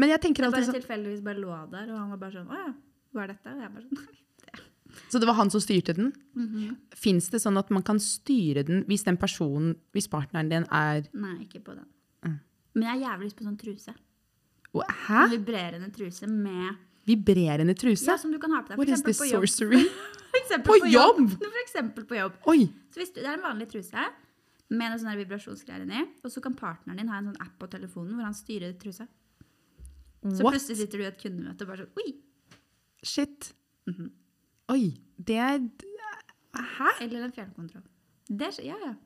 [SPEAKER 1] Men jeg tenker
[SPEAKER 2] Jeg bare
[SPEAKER 1] alltid sånn
[SPEAKER 2] tilfeldigvis bare lå der, og han var bare sånn Å ja, hva er dette? Og jeg bare sånn Nei.
[SPEAKER 1] Så det var han som styrte den?
[SPEAKER 2] Mhm.
[SPEAKER 1] Fins det sånn at man kan styre den hvis den personen, hvis partneren din er
[SPEAKER 2] Nei, ikke på den.
[SPEAKER 1] Mm.
[SPEAKER 2] Men jeg har jævlig lyst på sånn truse.
[SPEAKER 1] Å, Hæ?
[SPEAKER 2] En vibrerende truse med
[SPEAKER 1] Vibrerende truse?
[SPEAKER 2] Ja, som du kan ha på deg. For
[SPEAKER 1] What is
[SPEAKER 2] eksempel
[SPEAKER 1] this
[SPEAKER 2] på jobb.
[SPEAKER 1] sorcery?
[SPEAKER 2] For eksempel
[SPEAKER 1] På jobb?
[SPEAKER 2] For eksempel på jobb.
[SPEAKER 1] Oi!
[SPEAKER 2] Så hvis du, det er en vanlig truse med noen sånne vibrasjonsgreier inni, og så kan partneren din ha en sånn app på telefonen hvor han styrer trusa. Så
[SPEAKER 1] What?
[SPEAKER 2] plutselig sitter du i et kundemøte og bare sånn Oi!
[SPEAKER 1] Shit.
[SPEAKER 2] Mhm.
[SPEAKER 1] Oi. Det er Hæ?
[SPEAKER 2] Eller en fjernkontroll. Det skjer, ja, ja.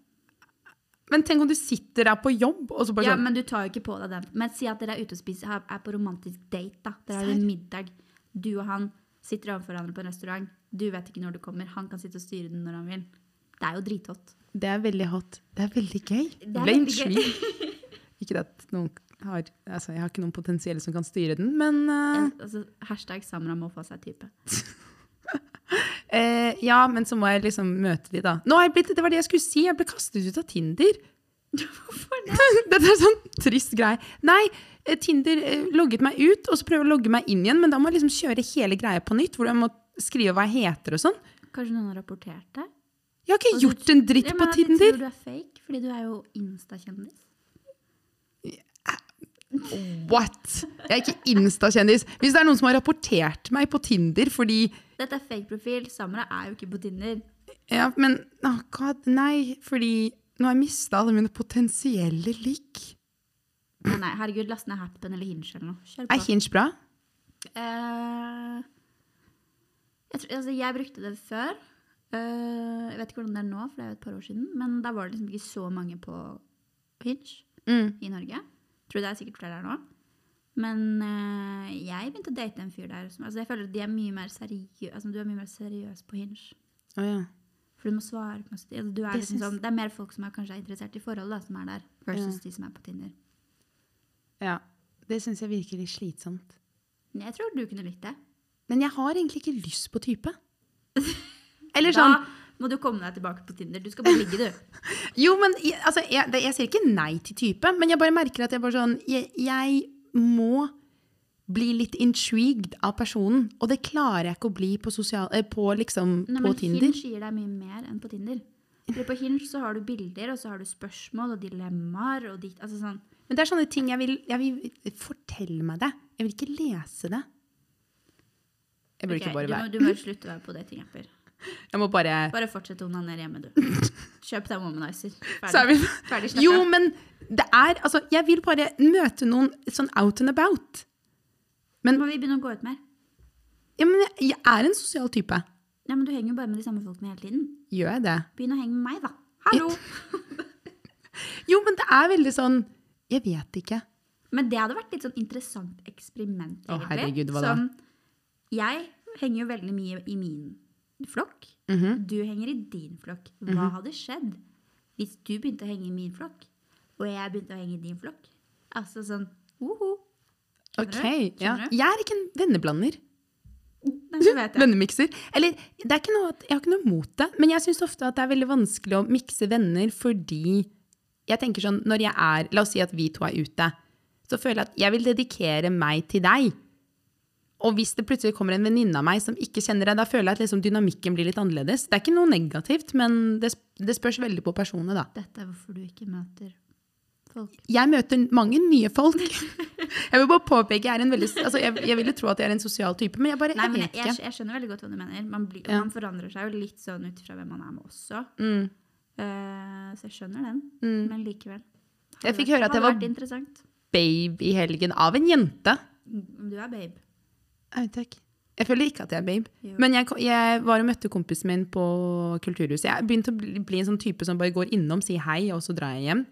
[SPEAKER 1] Men tenk om du sitter der på jobb, og så bare
[SPEAKER 2] ja,
[SPEAKER 1] sånn
[SPEAKER 2] men du tar jo ikke på deg den. Men si at dere er ute og spiser, har- er på romantisk date, da. Dere har en middag. Du og han sitter overfor hverandre på en restaurant. Du vet ikke når du kommer. Han kan sitte og styre den når han vil. Det er jo drithot.
[SPEAKER 1] Det er veldig hot. Det er veldig gøy.
[SPEAKER 2] er
[SPEAKER 1] Det ble en
[SPEAKER 2] veldig
[SPEAKER 1] sving. Ikke at noen har Altså, jeg har ikke noen potensielle som kan styre den, men eh,
[SPEAKER 2] Altså, hashtag Samra må få seg type.
[SPEAKER 1] eh, Ja, men så må jeg liksom møte de, da. Nå har jeg blitt Det var det jeg skulle si. Jeg ble kastet ut av Tinder.
[SPEAKER 2] Hvorfor det?
[SPEAKER 1] Dette er sånn trist greie. Nei, eh, Tinder eh, logget meg ut, og så prøver jeg å logge meg inn igjen, men da må jeg liksom kjøre hele greia på nytt, hvor jeg må skrive hva jeg heter og sånn.
[SPEAKER 2] Kanskje noen har rapportert det?
[SPEAKER 1] Jeg har
[SPEAKER 2] Og
[SPEAKER 1] ikke
[SPEAKER 2] du-
[SPEAKER 1] gjort en dritt
[SPEAKER 2] Altså, Ja, men
[SPEAKER 1] på
[SPEAKER 2] at de
[SPEAKER 1] Tinder!
[SPEAKER 2] tror du er fake, fordi du er jo Insta-kjendis.
[SPEAKER 1] What? Jeg er ikke Insta-kjendis. Hvis det er noen som har rapportert meg på Tinder fordi
[SPEAKER 2] Dette er fake-profil. Samra er jo ikke på Tinder.
[SPEAKER 1] Ja, men åh, God, nei, fordi nå har jeg mista alle mine potensielle ligg.
[SPEAKER 2] Nei, nei, herregud, last ned Happen eller Hinge eller noe. Kjør på.
[SPEAKER 1] Er Hinge bra?
[SPEAKER 2] Eh, jeg, tror, altså, jeg brukte det før. Eh, jeg vet ikke hvordan det er nå, for det er jo et par år siden. Men da var det liksom ikke så mange på Hinge
[SPEAKER 1] Mm.
[SPEAKER 2] i Norge. Tror det er sikkert flere der nå. Men eh, jeg begynte å date en fyr der. Som, altså, jeg føler at de er mye mer seriø- altså, du er mye mer seriøs på Hinge.
[SPEAKER 1] Å ja.
[SPEAKER 2] For du må svare på masse altså, du er
[SPEAKER 1] Det
[SPEAKER 2] liksom
[SPEAKER 1] syns-
[SPEAKER 2] sånn, Det er mer folk som er kanskje er interessert i forhold, da, som er der, versus
[SPEAKER 1] Ja.
[SPEAKER 2] de som er på Tinder.
[SPEAKER 1] ja. Det syns jeg virker litt slitsomt.
[SPEAKER 2] Men jeg tror du kunne likt det.
[SPEAKER 1] Men jeg har egentlig ikke lyst på type. Eller
[SPEAKER 2] Da
[SPEAKER 1] sånn
[SPEAKER 2] må du komme deg tilbake på Tinder. Du skal bare ligge, du.
[SPEAKER 1] Jo, men jeg- altså, jeg, det, jeg sier ikke nei til type, men jeg bare merker at jeg bare sånn Jeg, jeg må bli litt intrigued av personen, og det klarer jeg ikke å bli på, sosial, eh, på, liksom,
[SPEAKER 2] Nei,
[SPEAKER 1] på
[SPEAKER 2] men
[SPEAKER 1] Tinder.
[SPEAKER 2] Hinge gir deg mye mer enn på Tinder. Fordi på Hinge så har du bilder, og så har du spørsmål og dilemmaer. Og dikt, altså sånn.
[SPEAKER 1] Men det er sånne ting jeg vil, jeg vil fortelle meg det. Jeg vil ikke lese det. Jeg burde
[SPEAKER 2] Ok,
[SPEAKER 1] ikke bare
[SPEAKER 2] du,
[SPEAKER 1] være
[SPEAKER 2] må, du må slutte å være på datingapper.
[SPEAKER 1] Jeg må bare
[SPEAKER 2] Bare fortsett å onanere hjemme, du. Kjøp deg womanizer.
[SPEAKER 1] Så er
[SPEAKER 2] Ferdig,
[SPEAKER 1] vi-
[SPEAKER 2] ferdig snakka.
[SPEAKER 1] Jo, men det er Altså, jeg vil bare møte noen sånn out and about.
[SPEAKER 2] Nå må vi begynne å gå ut mer.
[SPEAKER 1] Ja, men jeg, jeg er en sosial type.
[SPEAKER 2] Ja, men Du henger jo bare med de samme folkene hele tiden.
[SPEAKER 1] Gjør jeg det?
[SPEAKER 2] Begynn å henge med meg, da. Hallo!
[SPEAKER 1] Jo, men det er veldig sånn Jeg vet ikke.
[SPEAKER 2] Men det hadde vært litt sånn interessant eksperiment,
[SPEAKER 1] Å,
[SPEAKER 2] egentlig.
[SPEAKER 1] herregud, hva da?
[SPEAKER 2] Som jeg henger jo veldig mye i min flokk.
[SPEAKER 1] Mhm.
[SPEAKER 2] Du henger i din flokk. Hva hadde skjedd hvis du begynte å henge i min flokk, og jeg begynte å henge i din flokk? Altså sånn woho. Skjønner
[SPEAKER 1] Ok,
[SPEAKER 2] du?
[SPEAKER 1] ja.
[SPEAKER 2] Skjønner du?
[SPEAKER 1] Jeg er ikke en venneblander.
[SPEAKER 2] Nei, så vet jeg.
[SPEAKER 1] Vennemikser. Eller det er ikke noe at, jeg har ikke noe mot det, men jeg syns ofte at det er veldig vanskelig å mikse venner fordi jeg tenker sånn, når jeg er, La oss si at vi to er ute. Så føler jeg at jeg vil dedikere meg til deg. Og hvis det plutselig kommer en venninne av meg som ikke kjenner deg, da føler jeg at liksom dynamikken blir litt annerledes. Det er ikke noe negativt, men det, sp- det spørs veldig på personene, da.
[SPEAKER 2] Dette er hvorfor du ikke møter folk.
[SPEAKER 1] Jeg møter mange nye folk. Jeg vil bare påpeke, jeg er en veldig altså jeg, jeg ville tro at jeg er en sosial type, men jeg bare
[SPEAKER 2] Nei,
[SPEAKER 1] jeg
[SPEAKER 2] men jeg,
[SPEAKER 1] vet
[SPEAKER 2] jeg,
[SPEAKER 1] ikke.
[SPEAKER 2] jeg skjønner veldig godt hva du mener. Man, blir,
[SPEAKER 1] Ja.
[SPEAKER 2] man forandrer seg jo litt sånn ut fra hvem man er med også.
[SPEAKER 1] Mm.
[SPEAKER 2] Eh, så jeg skjønner den,
[SPEAKER 1] Mm.
[SPEAKER 2] men likevel.
[SPEAKER 1] Jeg fikk høre at jeg
[SPEAKER 2] Hadde
[SPEAKER 1] var-
[SPEAKER 2] vært interessant.
[SPEAKER 1] Babe i helgen av en jente.
[SPEAKER 2] Du er babe.
[SPEAKER 1] Au, takk. Jeg føler ikke at jeg er babe.
[SPEAKER 2] Jo.
[SPEAKER 1] Men jeg, ko- jeg var og møtte kompisen min på kulturhuset. Jeg begynte å bli, bli en sånn type som bare går innom, sier hei, og så drar jeg hjem.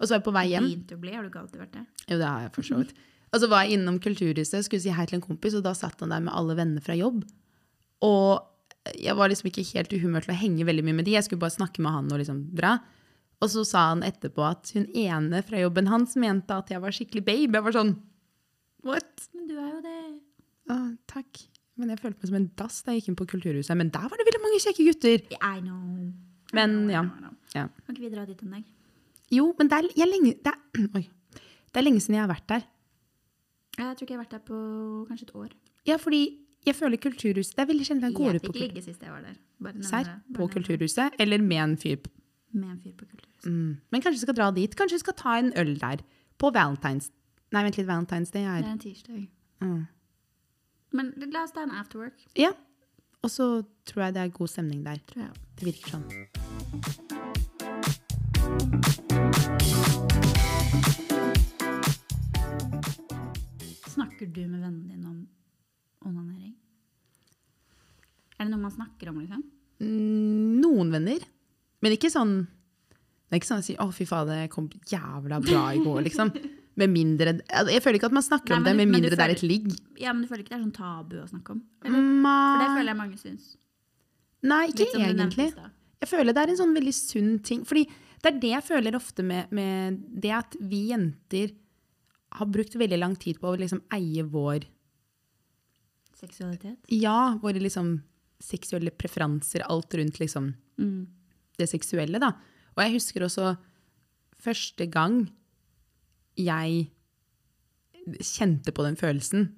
[SPEAKER 1] Og så er jeg på vei hjem.
[SPEAKER 2] Fint å bli, har du ikke alltid vært det?
[SPEAKER 1] Jo, det har jeg for så vidt. Og så var jeg innom Kulturhuset skulle si hei til en kompis, og da satt han der med alle venner fra jobb. Og jeg var liksom ikke helt i humør til å henge veldig mye med de. Jeg skulle bare snakke med han og liksom dra. Og så sa han etterpå at hun ene fra jobben hans mente at jeg var skikkelig babe. Jeg var sånn What?
[SPEAKER 2] Men du er jo det.
[SPEAKER 1] Ah, takk. Men jeg følte meg som en dass da jeg gikk inn på Kulturhuset. Men der var det veldig mange kjekke gutter.
[SPEAKER 2] I know.
[SPEAKER 1] Men
[SPEAKER 2] I know, I
[SPEAKER 1] ja.
[SPEAKER 2] know, I know.
[SPEAKER 1] ja.
[SPEAKER 2] Kan ikke vi dra dit en dag?
[SPEAKER 1] Jo, men det er, jeg er lenge, det, er, oi, det er lenge siden jeg har vært der.
[SPEAKER 2] Jeg tror ikke jeg har vært der på kanskje et år.
[SPEAKER 1] Ja, fordi jeg føler Kulturhuset Det er veldig sjelden jeg går
[SPEAKER 2] Jeg
[SPEAKER 1] ut på
[SPEAKER 2] fikk
[SPEAKER 1] kultur,
[SPEAKER 2] ligge sist jeg var der. Bare nevne
[SPEAKER 1] serr
[SPEAKER 2] det. Bare
[SPEAKER 1] på
[SPEAKER 2] nevne det.
[SPEAKER 1] Kulturhuset, eller med en fyr. på-
[SPEAKER 2] Med en fyr på kulturhuset.
[SPEAKER 1] Mm. Men kanskje vi skal dra dit? Kanskje vi skal ta en øl der? På Valentine's Nei, vent litt, Valentine's Day
[SPEAKER 2] Det
[SPEAKER 1] er
[SPEAKER 2] er en tirsdag.
[SPEAKER 1] mm.
[SPEAKER 2] Men la oss ta en afterwork,
[SPEAKER 1] Ja. Og så tror jeg det er god stemning der.
[SPEAKER 2] tror jeg.
[SPEAKER 1] Det virker sånn.
[SPEAKER 2] Snakker du med vennene dine om onanering? Er det noe man snakker om, liksom?
[SPEAKER 1] Mm, Noen venner. Men ikke sånn Det er ikke sånn å si 'Å, fy fader, jeg kom jævla bra i går', liksom. Med mindre Jeg føler ikke at man snakker
[SPEAKER 2] Nei,
[SPEAKER 1] om
[SPEAKER 2] men
[SPEAKER 1] det med
[SPEAKER 2] du- men du
[SPEAKER 1] mindre det er
[SPEAKER 2] føler-
[SPEAKER 1] et ligg.
[SPEAKER 2] Ja, men du føler ikke det er sånn tabu å snakke om? Eller? For det
[SPEAKER 1] Nei,
[SPEAKER 2] føler jeg mange syns.
[SPEAKER 1] nei, ikke
[SPEAKER 2] Litt som du nevnte i
[SPEAKER 1] egentlig.
[SPEAKER 2] stad.
[SPEAKER 1] Jeg føler det er en sånn veldig sunn ting. Fordi det er det jeg føler ofte med, med det at vi jenter har brukt veldig lang tid på å liksom eie vår
[SPEAKER 2] Seksualitet.
[SPEAKER 1] Ja, våre liksom seksuelle preferanser, alt rundt liksom
[SPEAKER 2] Mm.
[SPEAKER 1] det seksuelle, da. Og jeg husker også første gang jeg kjente på den følelsen.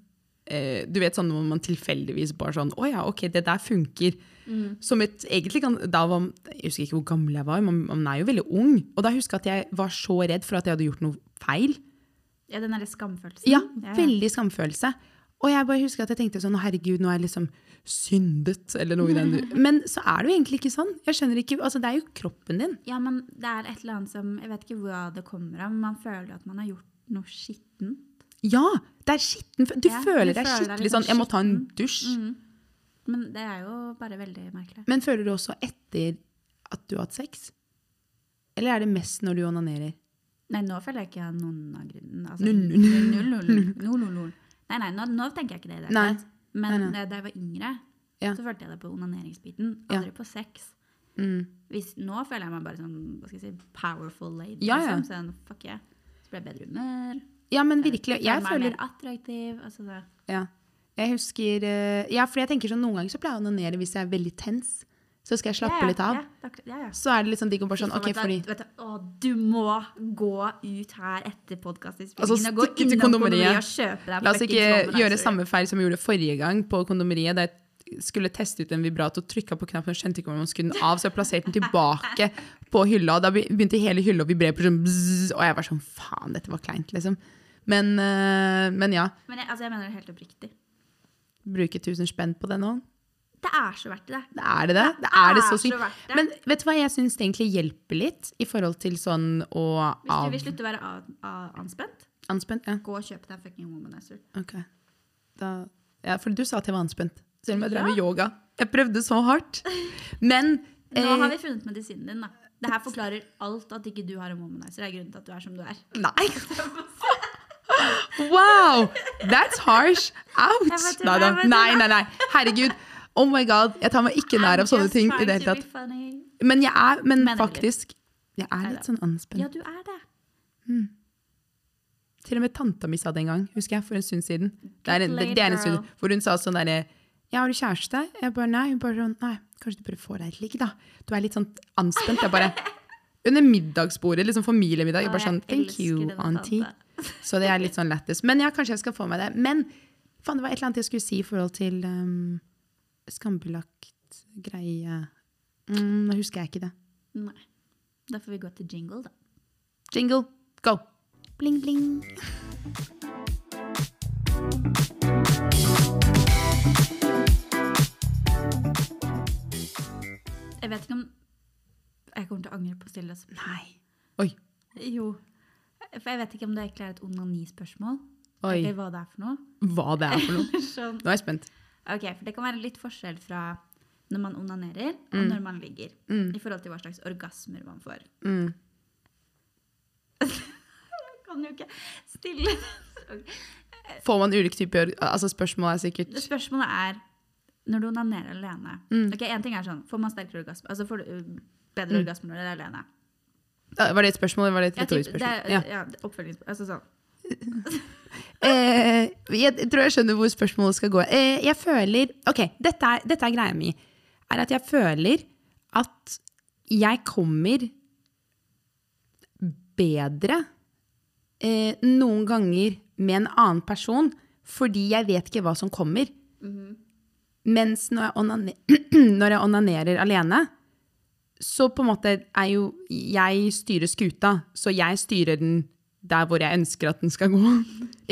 [SPEAKER 1] Eh, du vet sånn hvor man tilfeldigvis bare sånn Å ja, OK, det der funker.
[SPEAKER 2] Mm.
[SPEAKER 1] Som et egentlig kan, da var, Jeg husker ikke hvor gammel jeg var, men man er jo veldig ung. Og da husker jeg at jeg var så redd for at jeg hadde gjort noe feil.
[SPEAKER 2] Ja, den derre skamfølelsen.
[SPEAKER 1] Ja, veldig skamfølelse. Og jeg bare husker at jeg tenkte sånn, herregud, nå er jeg liksom syndet, eller noe i den du. Men så er det jo egentlig ikke sånn. Jeg skjønner ikke, altså det er jo kroppen din.
[SPEAKER 2] Ja, men det er et eller annet som Jeg vet ikke hva det kommer av, men man føler at man har gjort noe skittent.
[SPEAKER 1] Ja, det er skitten. Du
[SPEAKER 2] Ja,
[SPEAKER 1] føler
[SPEAKER 2] du
[SPEAKER 1] deg Mm.
[SPEAKER 2] føler deg
[SPEAKER 1] skikkelig
[SPEAKER 2] liksom
[SPEAKER 1] sånn, jeg må ta en dusj.
[SPEAKER 2] Men det er jo bare veldig merkelig.
[SPEAKER 1] Men føler du også etter at du har hatt sex? Eller er det mest når du onanerer?
[SPEAKER 2] Nei, nå føler jeg ikke jeg noen av grunnen. Altså,
[SPEAKER 1] Null, null.
[SPEAKER 2] null, null, null, null, null, null. Nei, nei, nå, nå tenker jeg ikke det. i det hele
[SPEAKER 1] Nei.
[SPEAKER 2] tatt. Men eh, da jeg var yngre,
[SPEAKER 1] Ja.
[SPEAKER 2] så følte jeg det på onaneringsbiten.
[SPEAKER 1] Ja.
[SPEAKER 2] Aldri på sex.
[SPEAKER 1] Mm.
[SPEAKER 2] Hvis, nå føler jeg meg bare sånn hva skal jeg si, powerful lady.
[SPEAKER 1] Ja, ja.
[SPEAKER 2] Liksom. Sånn, fuck yeah. Så ble jeg i bedre humør.
[SPEAKER 1] Ja, men virkelig, jeg
[SPEAKER 2] meg
[SPEAKER 1] føler...
[SPEAKER 2] mer attraktiv. Altså, det-
[SPEAKER 1] Ja. Jeg husker eh, Ja, for jeg tenker sånn noen ganger så pleier jeg å onanere hvis jeg er veldig tens. Så skal jeg slappe
[SPEAKER 2] ja, ja,
[SPEAKER 1] litt av.
[SPEAKER 2] Ja, det er akkurat- ja, ja.
[SPEAKER 1] Så er det liksom digg å bare sånn, ok,
[SPEAKER 2] Fy faen, vet du-
[SPEAKER 1] fordi
[SPEAKER 2] vet du, å, du må gå ut her etter podkastinnspillingen
[SPEAKER 1] Altså,
[SPEAKER 2] og gå
[SPEAKER 1] stikke til
[SPEAKER 2] innom kondomeriet
[SPEAKER 1] kondomeriet.
[SPEAKER 2] og kjøpe deg
[SPEAKER 1] La oss
[SPEAKER 2] fucking
[SPEAKER 1] ikke gjøre
[SPEAKER 2] womanizer.
[SPEAKER 1] samme feil som vi gjorde forrige gang på kondomeriet, da jeg skulle teste ut en vibrator, trykka på knappen og skjønte ikke hvor man skulle den av, så jeg plasserte den tilbake på hylla, og da be- begynte hele hylla å vibrere, på sånn bzzz, og jeg var sånn faen, dette var kleint, liksom. Men, eh, men ja,
[SPEAKER 2] Men jeg, altså, jeg mener det helt oppriktig.
[SPEAKER 1] bruke 1000 spenn på det nå.
[SPEAKER 2] Det er så verdt det.
[SPEAKER 1] Det er det det? Det er det så
[SPEAKER 2] er så
[SPEAKER 1] sykt.
[SPEAKER 2] verdt det.
[SPEAKER 1] Men vet du hva jeg syns det egentlig hjelper litt, i forhold til sånn å
[SPEAKER 2] Hvis du
[SPEAKER 1] av...
[SPEAKER 2] vil slutte å være a- a- anspent,
[SPEAKER 1] Anspent? Ja,
[SPEAKER 2] gå og kjøp deg en fucking womanizer.
[SPEAKER 1] ok. Da, ja, for du sa at jeg var anspent, selv om jeg drev
[SPEAKER 2] Ja.
[SPEAKER 1] med yoga. Jeg prøvde så hardt. Men
[SPEAKER 2] Nå
[SPEAKER 1] eh,
[SPEAKER 2] har vi funnet medisinen din, da. Det her forklarer alt at ikke du har en womanizer. Det er grunnen til at du er som du er.
[SPEAKER 1] Nei. Wow! That's harsh.
[SPEAKER 2] Jeg bare
[SPEAKER 1] Ouch! Nei,
[SPEAKER 2] tuller,
[SPEAKER 1] da.
[SPEAKER 2] jeg bare
[SPEAKER 1] nei, nei, nei. Herregud. Oh my god. Jeg tar meg ikke nær av sånne ting i det hele tatt. Men jeg er men
[SPEAKER 2] Men det er litt.
[SPEAKER 1] faktisk jeg er litt sånn
[SPEAKER 2] Ja,
[SPEAKER 1] anspent.
[SPEAKER 2] du er det.
[SPEAKER 1] Til og med tanta mi sa det en gang, husker jeg, for en stund siden. Det er en, det, det er en stund hvor hun sa sånn derre Ja, har du kjæreste? Jeg bare nei. Hun bare sånn Nei, kanskje du bare får deg et ligg, da. Du er litt sånn anspent. Jeg bare Under middagsbordet, liksom familiemiddag. Jeg bare sånn
[SPEAKER 2] Å, jeg
[SPEAKER 1] Thank you,
[SPEAKER 2] elsker denne
[SPEAKER 1] auntie.
[SPEAKER 2] tante.
[SPEAKER 1] Så det er litt sånn lættis. Men ja, kanskje jeg skal få meg det. Men faen, det var et eller annet jeg skulle si i forhold til um, skambelagt greie. Mm, nå husker jeg ikke det.
[SPEAKER 2] Nei. Da får vi gå til jingle, da.
[SPEAKER 1] Jingle, go! Bling, bling.
[SPEAKER 2] Jeg vet ikke om Jeg kommer til å angre på å stille oss
[SPEAKER 1] Nei. Oi.
[SPEAKER 2] Jo. For jeg vet ikke om det egentlig er et onanispørsmål.
[SPEAKER 1] Oi.
[SPEAKER 2] Eller hva det er for noe.
[SPEAKER 1] Hva det er for noe.
[SPEAKER 2] Sånn.
[SPEAKER 1] Nå er jeg spent.
[SPEAKER 2] Ok, For det kan være litt forskjell fra når man onanerer, og når man ligger. I forhold til hva slags orgasmer man får.
[SPEAKER 1] Mm.
[SPEAKER 2] Jeg kan jo ikke stille Ok.
[SPEAKER 1] Får man ulike typer altså Spørsmålet er sikkert
[SPEAKER 2] Spørsmålet er når du onanerer alene
[SPEAKER 1] Mm.
[SPEAKER 2] Ok, En ting er sånn, får man sterkere orgasme? Altså får du uh, bedre orgasme når du er alene?
[SPEAKER 1] Ja, Var det et spørsmål, eller var Mm. det et
[SPEAKER 2] Jeg typ-
[SPEAKER 1] retorisk
[SPEAKER 2] det
[SPEAKER 1] spørsmål?
[SPEAKER 2] er,
[SPEAKER 1] Ja.
[SPEAKER 2] ja. oppfølgingsspørsmål. Altså sånn.
[SPEAKER 1] Eh, jeg tror jeg skjønner hvor spørsmålet skal gå. Eh, jeg føler Ok, dette er, dette er greia mi. Er at jeg føler at jeg kommer bedre eh, noen ganger med en annen person fordi jeg vet ikke hva som kommer.
[SPEAKER 2] Mhm.
[SPEAKER 1] Mens når jeg, onane når jeg onanerer alene, så på en måte er jo Jeg styrer skuta, så jeg styrer den der hvor jeg ønsker at den skal gå.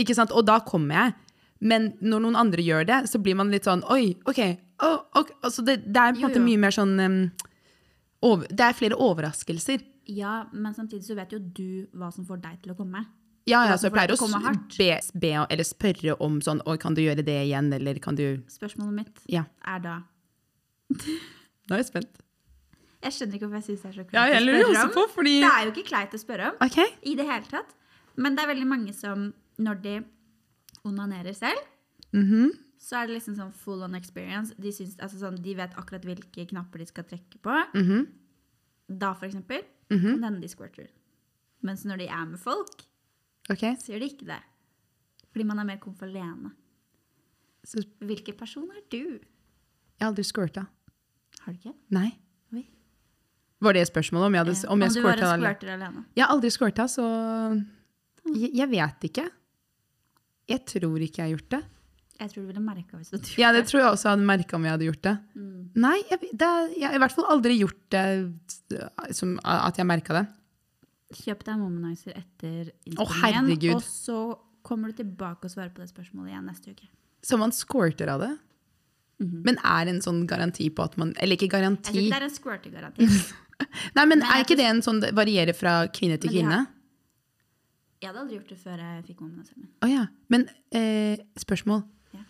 [SPEAKER 1] Ikke sant? Og da kommer jeg. Men når noen andre gjør det, så blir man litt sånn Oi, OK. Å, ok. Altså det, det er på en
[SPEAKER 2] Jo,
[SPEAKER 1] måte
[SPEAKER 2] jo.
[SPEAKER 1] mye mer sånn em, over, Det er flere overraskelser.
[SPEAKER 2] Ja, men samtidig så vet jo du hva som får deg til å komme.
[SPEAKER 1] Ja, ja,
[SPEAKER 2] Ja,
[SPEAKER 1] så jeg
[SPEAKER 2] for
[SPEAKER 1] pleier å
[SPEAKER 2] det kommer
[SPEAKER 1] s-
[SPEAKER 2] hardt.
[SPEAKER 1] be, be, eller spørre om sånn Oi, kan du gjøre det igjen, eller kan du
[SPEAKER 2] Spørsmålet mitt
[SPEAKER 1] Ja.
[SPEAKER 2] er da
[SPEAKER 1] Nå er jeg spent.
[SPEAKER 2] Jeg skjønner ikke hvorfor jeg syns det er så
[SPEAKER 1] Ja,
[SPEAKER 2] kleint
[SPEAKER 1] jeg lurer også på, fordi
[SPEAKER 2] Det er jo ikke kleint å spørre om
[SPEAKER 1] OK.
[SPEAKER 2] i det hele tatt. Men det er veldig mange som, når de onanerer selv,
[SPEAKER 1] Mhm.
[SPEAKER 2] så er det liksom sånn full on experience. De, syns, altså sånn, de vet akkurat hvilke knapper de skal trekke på.
[SPEAKER 1] Mhm.
[SPEAKER 2] Da, for eksempel, kan det hende de squirter. Mens når de er med folk,
[SPEAKER 1] ok.
[SPEAKER 2] så gjør de ikke det. Fordi man er mer komfort alene.
[SPEAKER 1] Så jeg
[SPEAKER 2] Hvilken person er du?
[SPEAKER 1] har aldri squirta.
[SPEAKER 2] Har du ikke?
[SPEAKER 1] Nei.
[SPEAKER 2] Oi.
[SPEAKER 1] Var det spørsmålet? Om jeg, hadde, om jeg
[SPEAKER 2] Eh, du bare
[SPEAKER 1] squirta Hm. eller
[SPEAKER 2] squirter alene.
[SPEAKER 1] Jeg har aldri squirta, så jeg, jeg vet ikke. Jeg tror ikke jeg har gjort det.
[SPEAKER 2] Jeg tror du ville merka hvis du hadde
[SPEAKER 1] Ja, det
[SPEAKER 2] gjort det.
[SPEAKER 1] tror jeg også jeg hadde merka om jeg hadde gjort det.
[SPEAKER 2] Mm.
[SPEAKER 1] Nei, jeg, det, er- jeg har i hvert fall aldri gjort det eh, som, at jeg merka det.
[SPEAKER 2] Kjøp deg Womanizer etter
[SPEAKER 1] herregud.
[SPEAKER 2] og så kommer du tilbake og svarer på det spørsmålet igjen neste uke.
[SPEAKER 1] Så man squirter av det.
[SPEAKER 2] Mhm.
[SPEAKER 1] Men er det en sånn garanti på at man Eller ikke
[SPEAKER 2] Jeg tror
[SPEAKER 1] garanti.
[SPEAKER 2] ikke det er en squirtegaranti.
[SPEAKER 1] Nei, men
[SPEAKER 2] Nei,
[SPEAKER 1] er
[SPEAKER 2] jeg
[SPEAKER 1] ikke det en sånn det varierer fra kvinne til
[SPEAKER 2] Men de
[SPEAKER 1] kvinne?
[SPEAKER 2] har- Jeg hadde aldri gjort det før jeg fikk Womanizeren min.
[SPEAKER 1] Å ja. Men eh, spørsmål.
[SPEAKER 2] Ja.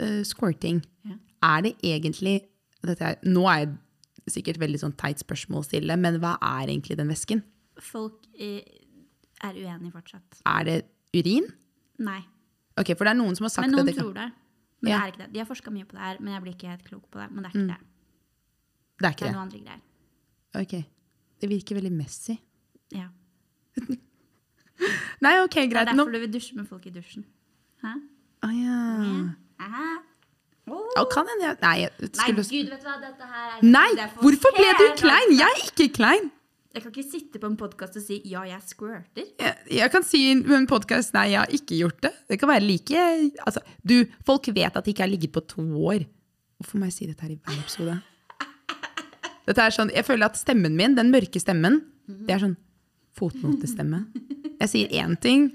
[SPEAKER 1] Eh, squirting.
[SPEAKER 2] Ja.
[SPEAKER 1] Er det egentlig dette er, Nå er jeg sikkert veldig sånn teit spørsmål å stille, men hva er egentlig den væsken?
[SPEAKER 2] Folk eh, er uenige fortsatt.
[SPEAKER 1] Er det urin?
[SPEAKER 2] Nei.
[SPEAKER 1] Ok, For det er noen som har sagt
[SPEAKER 2] Men
[SPEAKER 1] at
[SPEAKER 2] noen
[SPEAKER 1] det kan-
[SPEAKER 2] tror det. Men
[SPEAKER 1] Ja. Mm.
[SPEAKER 2] det er ikke det. De har forska mye på det her, men jeg blir ikke helt klok på det. Men det er ikke det.
[SPEAKER 1] Det er
[SPEAKER 2] Det
[SPEAKER 1] ikke
[SPEAKER 2] er
[SPEAKER 1] det.
[SPEAKER 2] noen andre greier.
[SPEAKER 1] Ok. Det virker veldig messy.
[SPEAKER 2] Ja.
[SPEAKER 1] Nei, ok,
[SPEAKER 2] Det er
[SPEAKER 1] greit. Nå
[SPEAKER 2] derfor du vil dusje med folk i dusjen. Hæ?
[SPEAKER 1] Å ja.
[SPEAKER 2] Hæ? Oh.
[SPEAKER 1] Å, kan hende Ah. jeg Nei, jeg
[SPEAKER 2] Nei,
[SPEAKER 1] skulle
[SPEAKER 2] gud, vet du hva? Dette her er
[SPEAKER 1] Nei!
[SPEAKER 2] det er for
[SPEAKER 1] Hvorfor ble du
[SPEAKER 2] helt
[SPEAKER 1] klein?
[SPEAKER 2] langt.
[SPEAKER 1] Jeg er ikke klein!
[SPEAKER 2] Jeg kan ikke sitte på en podkast og si 'ja, jeg squirter'.
[SPEAKER 1] Jeg, jeg kan si i en podkast nei, jeg har ikke gjort det. Det kan være like altså, Du, folk vet at de ikke har ligget på to år. Hvorfor må jeg si dette her i hver episode? Dette er sånn, Jeg føler at stemmen min, den mørke stemmen, det er sånn fotnotestemme. Jeg sier én ting,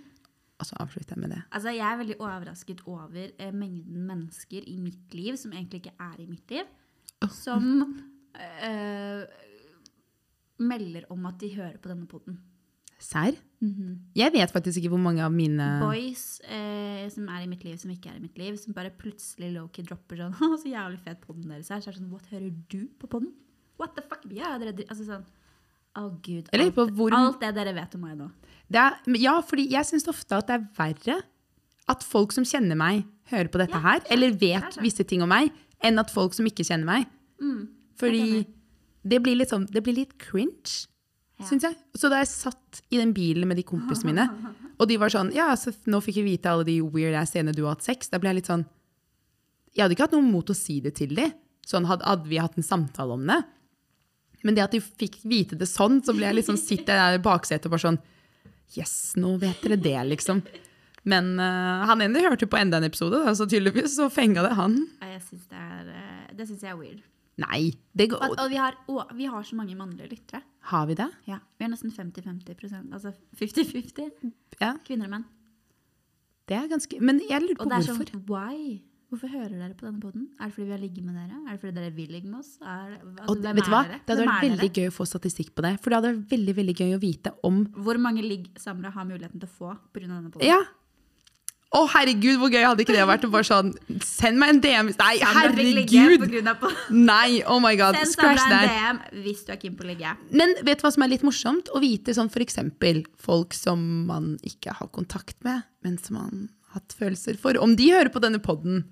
[SPEAKER 1] og så avslutter jeg med det.
[SPEAKER 2] Altså, Jeg er veldig overrasket over eh, mengden mennesker i mitt liv som egentlig ikke er i mitt liv, som eh, melder om at de hører på denne poden.
[SPEAKER 1] Serr?
[SPEAKER 2] Mhm.
[SPEAKER 1] Jeg vet faktisk ikke hvor mange av mine
[SPEAKER 2] Boys eh, som er i mitt liv, som ikke er i mitt liv, som bare plutselig low-key dropper sånn 'Å, så jævlig fet poden deres er.' Så er det sånn 'What hører du på poden?' What the fuck? Ja, dere dri- Altså sånn Å,
[SPEAKER 1] Jeg
[SPEAKER 2] gud.
[SPEAKER 1] lurer
[SPEAKER 2] Alt,
[SPEAKER 1] på hvor-
[SPEAKER 2] alt det dere vet om meg nå.
[SPEAKER 1] det er, men Ja, fordi jeg syns ofte at det er verre at folk som kjenner meg, hører på dette
[SPEAKER 2] Ja,
[SPEAKER 1] her, eller vet
[SPEAKER 2] klart det.
[SPEAKER 1] visse ting om meg, enn at folk som ikke kjenner meg,
[SPEAKER 2] Mm.
[SPEAKER 1] Fordi
[SPEAKER 2] Jeg
[SPEAKER 1] det blir litt, sånn, det blir litt cringe,
[SPEAKER 2] Ja.
[SPEAKER 1] syns jeg. Så da jeg satt i den bilen med de kompisene mine, og de var sånn Ja, så nå fikk vi vite alle de weird ass scenene du har hatt sex. Da ble jeg litt sånn Jeg hadde ikke hatt noe mot å si det til de. Sånn hadde, hadde vi hatt en samtale om det. Men det at de fikk vite det sånn, så ble jeg liksom sitter jeg der i baksetet og bare sånn Yes, nå vet dere det, liksom. Men eh, han ene hørte på enda en episode, da, så tydeligvis så fenga det han.
[SPEAKER 2] Ja, Jeg synes det er, eh, det syns jeg er weird.
[SPEAKER 1] Nei, det
[SPEAKER 2] Og, at,
[SPEAKER 1] går
[SPEAKER 2] og, vi har, og vi har så mange mannlige lyttere.
[SPEAKER 1] Har vi det?
[SPEAKER 2] Vi har nesten 50-50 prosent, altså 50-50
[SPEAKER 1] Ja.
[SPEAKER 2] kvinner og menn.
[SPEAKER 1] Det er ganske, men jeg lurer på
[SPEAKER 2] Og det er
[SPEAKER 1] hvorfor.
[SPEAKER 2] sånn, why? Hvorfor hører dere på denne poden? Er det fordi vi har ligget med dere? Er det fordi dere vil ligge med oss? Er, det- altså,
[SPEAKER 1] og
[SPEAKER 2] hvem
[SPEAKER 1] vet du
[SPEAKER 2] er
[SPEAKER 1] hva?
[SPEAKER 2] dere?
[SPEAKER 1] Det hadde
[SPEAKER 2] Hvem
[SPEAKER 1] vært
[SPEAKER 2] er
[SPEAKER 1] veldig
[SPEAKER 2] dere?
[SPEAKER 1] gøy å få statistikk på det. For det hadde vært veldig, veldig gøy å vite om
[SPEAKER 2] Hvor mange ligg samlere har muligheten til å få pga. denne poden?
[SPEAKER 1] Ja! Å, herregud, hvor gøy hadde ikke det vært? å Bare sånn, Send meg en DM! Nei, herregud! Nei, oh my god.
[SPEAKER 2] Send
[SPEAKER 1] Scratch
[SPEAKER 2] Sandra en
[SPEAKER 1] that.
[SPEAKER 2] DM hvis du er keen på å ligge.
[SPEAKER 1] Men vet du hva som er litt morsomt? Å vite sånn for eksempel folk som man ikke har kontakt med, men som man hatt følelser for. Om de hører på denne podden,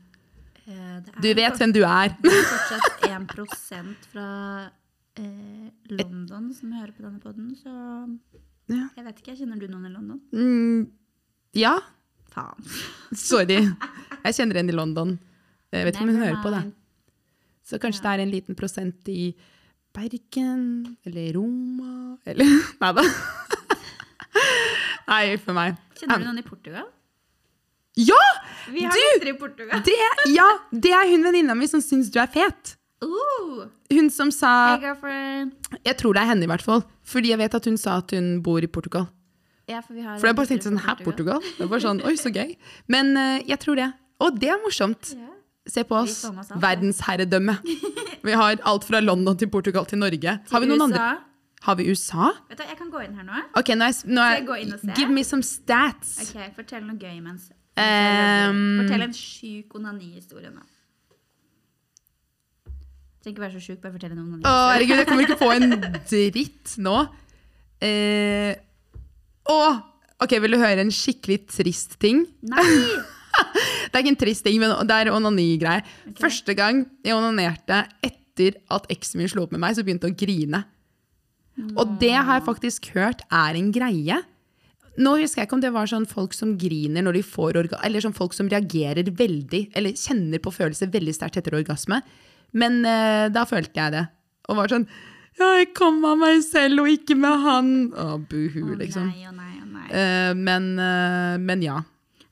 [SPEAKER 2] Eh, det er
[SPEAKER 1] du vet hvem du er.
[SPEAKER 2] Det er fortsatt 1 fra eh, London som hører på denne poden, så
[SPEAKER 1] Ja.
[SPEAKER 2] jeg vet ikke. Kjenner du noen i London?
[SPEAKER 1] Mm, ja,
[SPEAKER 2] Faen.
[SPEAKER 1] sorry. Jeg kjenner en i London. Jeg vet ikke om hun hører på det.
[SPEAKER 2] eh,
[SPEAKER 1] Så kanskje det er en liten prosent i Bergen eller Roma eller Nei da. Nei, for meg.
[SPEAKER 2] Kjenner du noen i Portugal?
[SPEAKER 1] Ja!
[SPEAKER 2] Vi har
[SPEAKER 1] Du!
[SPEAKER 2] lyttere i Portugal.
[SPEAKER 1] Det, ja, det er hun venninna mi som syns du er fet.
[SPEAKER 2] Ooh,
[SPEAKER 1] Hun som sa
[SPEAKER 2] hey girlfriend.
[SPEAKER 1] Jeg tror det er henne, i hvert fall. Fordi jeg vet at hun sa at hun bor i Portugal.
[SPEAKER 2] Ja, for vi har
[SPEAKER 1] For jeg bare
[SPEAKER 2] lyttere
[SPEAKER 1] tenkte sånn
[SPEAKER 2] fra
[SPEAKER 1] Hæ, Portugal? Det var sånn, Oi, så gøy. Men eh, jeg tror det. Og det er morsomt.
[SPEAKER 2] Ja.
[SPEAKER 1] Se på oss.
[SPEAKER 2] får med oss alt, ja.
[SPEAKER 1] Verdensherredømme. Vi har alt fra London til Portugal til Norge. Har vi
[SPEAKER 2] Til
[SPEAKER 1] noen
[SPEAKER 2] USA.
[SPEAKER 1] andre? Har vi USA?
[SPEAKER 2] Vet du, hva, jeg kan gå inn her nå.
[SPEAKER 1] Ok, nå er, jeg- nå
[SPEAKER 2] Skal jeg gå inn og
[SPEAKER 1] er
[SPEAKER 2] se?
[SPEAKER 1] Give me some stats.
[SPEAKER 2] Ok, Fortell noe gøy mens.
[SPEAKER 1] Ehm.
[SPEAKER 2] fortell en sjuk onanihistorie nå. Trenger ikke være så sjuk, bare fortell en
[SPEAKER 1] Å,
[SPEAKER 2] onanihistorie.
[SPEAKER 1] herregud, jeg kommer ikke på en dritt nå. Eh, å! Ok, vil du høre en skikkelig trist ting?
[SPEAKER 2] Nei!
[SPEAKER 1] Det er ikke en trist ting, men det er onani-greie. Første gang jeg onanerte etter at eksen min slo opp med meg, så begynte jeg å grine. Og det har jeg faktisk hørt er en greie. Nå husker jeg ikke om det var sånn folk som griner når de får orga eller sånn folk som reagerer veldig, eller kjenner på følelser veldig sterkt etter orgasme. Men eh, da følte jeg det. Og var sånn Ja, jeg kom av meg selv, og ikke med han. Å, buhu,
[SPEAKER 2] Å
[SPEAKER 1] liksom.
[SPEAKER 2] nei, å nei, å nei.
[SPEAKER 1] Eh, men, eh, men ja.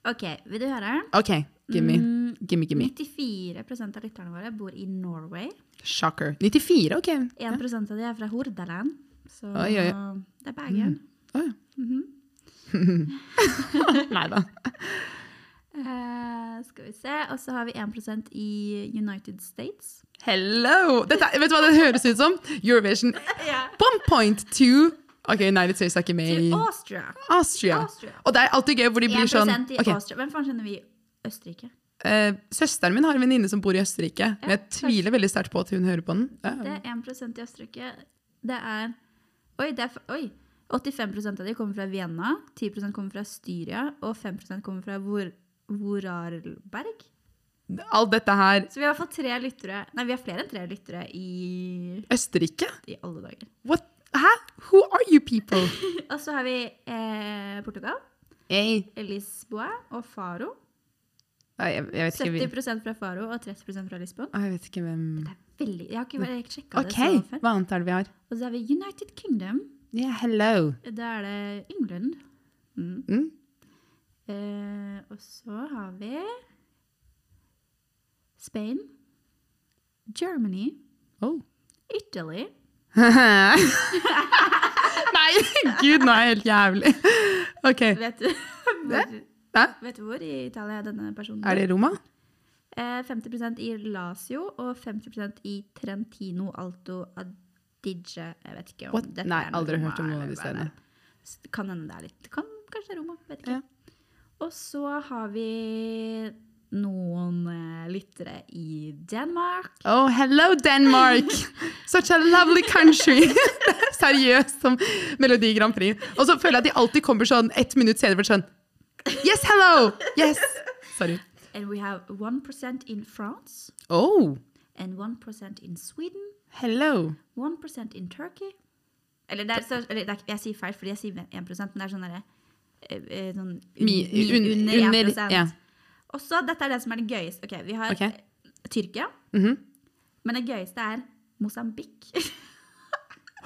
[SPEAKER 2] Ok, vil du høre?
[SPEAKER 1] OK, gimme.
[SPEAKER 2] Mm.
[SPEAKER 1] Gimme, gimme.
[SPEAKER 2] 94 av lytterne våre bor i Norway.
[SPEAKER 1] Shocker. 94, OK.
[SPEAKER 2] 1 av de er fra Hordaland. Så
[SPEAKER 1] Oi, oi,
[SPEAKER 2] det er Bergen.
[SPEAKER 1] Å, ja. Nei da. Mm.
[SPEAKER 2] Eh, skal vi se. Og så har vi 1 i United States.
[SPEAKER 1] Hello! Dette, er- vet du hva det høres ut som? Eurovision
[SPEAKER 2] Ja.
[SPEAKER 1] 1.2 OK, United States er ikke med i
[SPEAKER 2] Til Austria.
[SPEAKER 1] Austria.
[SPEAKER 2] Austria.
[SPEAKER 1] Og det er alltid gøy hvor de
[SPEAKER 2] 1
[SPEAKER 1] blir sånn
[SPEAKER 2] i
[SPEAKER 1] ok,
[SPEAKER 2] Austria. Hvem faen kjenner vi? Østerrike.
[SPEAKER 1] eh, Søsteren min har en venninne som bor i Østerrike, men jeg
[SPEAKER 2] kanskje.
[SPEAKER 1] tviler veldig sterkt på at hun hører på den. Ja.
[SPEAKER 2] Det er 1 i Østerrike. Det er Oi! Det er, f- oi. 85 av de kommer fra Vienna, 10 kommer fra Styria, og 5 kommer fra Vor Vorarlberg.
[SPEAKER 1] Alt dette her
[SPEAKER 2] Så vi har fått tre lyttere Nei, vi har flere enn tre lyttere i,
[SPEAKER 1] Østerrike?
[SPEAKER 2] i alle dager.
[SPEAKER 1] What? Hæ? Who are you people?
[SPEAKER 2] Og så har vi eh, Portugal,
[SPEAKER 1] Hey.
[SPEAKER 2] Lisboa og Faro.
[SPEAKER 1] Nei, jeg, jeg, vet ikke,
[SPEAKER 2] 70
[SPEAKER 1] hvil-
[SPEAKER 2] fra Faro og 30 fra Lisboa.
[SPEAKER 1] jeg vet ikke hvem
[SPEAKER 2] Det er veldig Jeg har ikke vært sjekka
[SPEAKER 1] OK,
[SPEAKER 2] det så før.
[SPEAKER 1] hva annet er det vi har?
[SPEAKER 2] Og så har vi United Kingdom.
[SPEAKER 1] Yeah, hello.
[SPEAKER 2] Da er det England. Mm.
[SPEAKER 1] Mm.
[SPEAKER 2] Eh, og så har vi Spain. Germany.
[SPEAKER 1] Oh.
[SPEAKER 2] Italy.
[SPEAKER 1] Nei, gud, nå er jeg helt jævlig. OK.
[SPEAKER 2] Vet du, hvor,
[SPEAKER 1] Hæ?
[SPEAKER 2] vet du hvor i Italia denne personen
[SPEAKER 1] Er det Roma?
[SPEAKER 2] Eh, 50 i Lazio og 50 i Trentino Alto Adige. Jeg vet ikke om
[SPEAKER 1] What?
[SPEAKER 2] dette
[SPEAKER 1] Nei,
[SPEAKER 2] er noe
[SPEAKER 1] aldri
[SPEAKER 2] Roma
[SPEAKER 1] hørt om noen av
[SPEAKER 2] eller
[SPEAKER 1] de
[SPEAKER 2] hva det
[SPEAKER 1] stedene.
[SPEAKER 2] er. S- Kan hende det er litt kan, Kanskje det er Roma. Vet ikke.
[SPEAKER 1] Ja.
[SPEAKER 2] Og så har vi noen eh, lyttere i Danmark.
[SPEAKER 1] Oh, hello Denmark! Such a lovely country! Seriøst, som Melodi Grand Prix. Og så føler jeg at de alltid kommer sånn ett minutt senere for sånn Yes, hello! Yes! Sorry.
[SPEAKER 2] And we have 1 in France.
[SPEAKER 1] Oh,
[SPEAKER 2] And 1 in Sweden.
[SPEAKER 1] hello.
[SPEAKER 2] 1 in Turkey. Eller, det er, så, eller det er, ikke- jeg sier feil, fordi jeg sier 1 men det er sånn derre eh, eh, sånn un,
[SPEAKER 1] Mi-
[SPEAKER 2] mi-
[SPEAKER 1] un- under,
[SPEAKER 2] under 1
[SPEAKER 1] ja.
[SPEAKER 2] Og så, dette er det som er det gøyeste. Ok, Vi har
[SPEAKER 1] Ok.
[SPEAKER 2] eh, Tyrkia.
[SPEAKER 1] Mhm.
[SPEAKER 2] Men det gøyeste er Mosambik.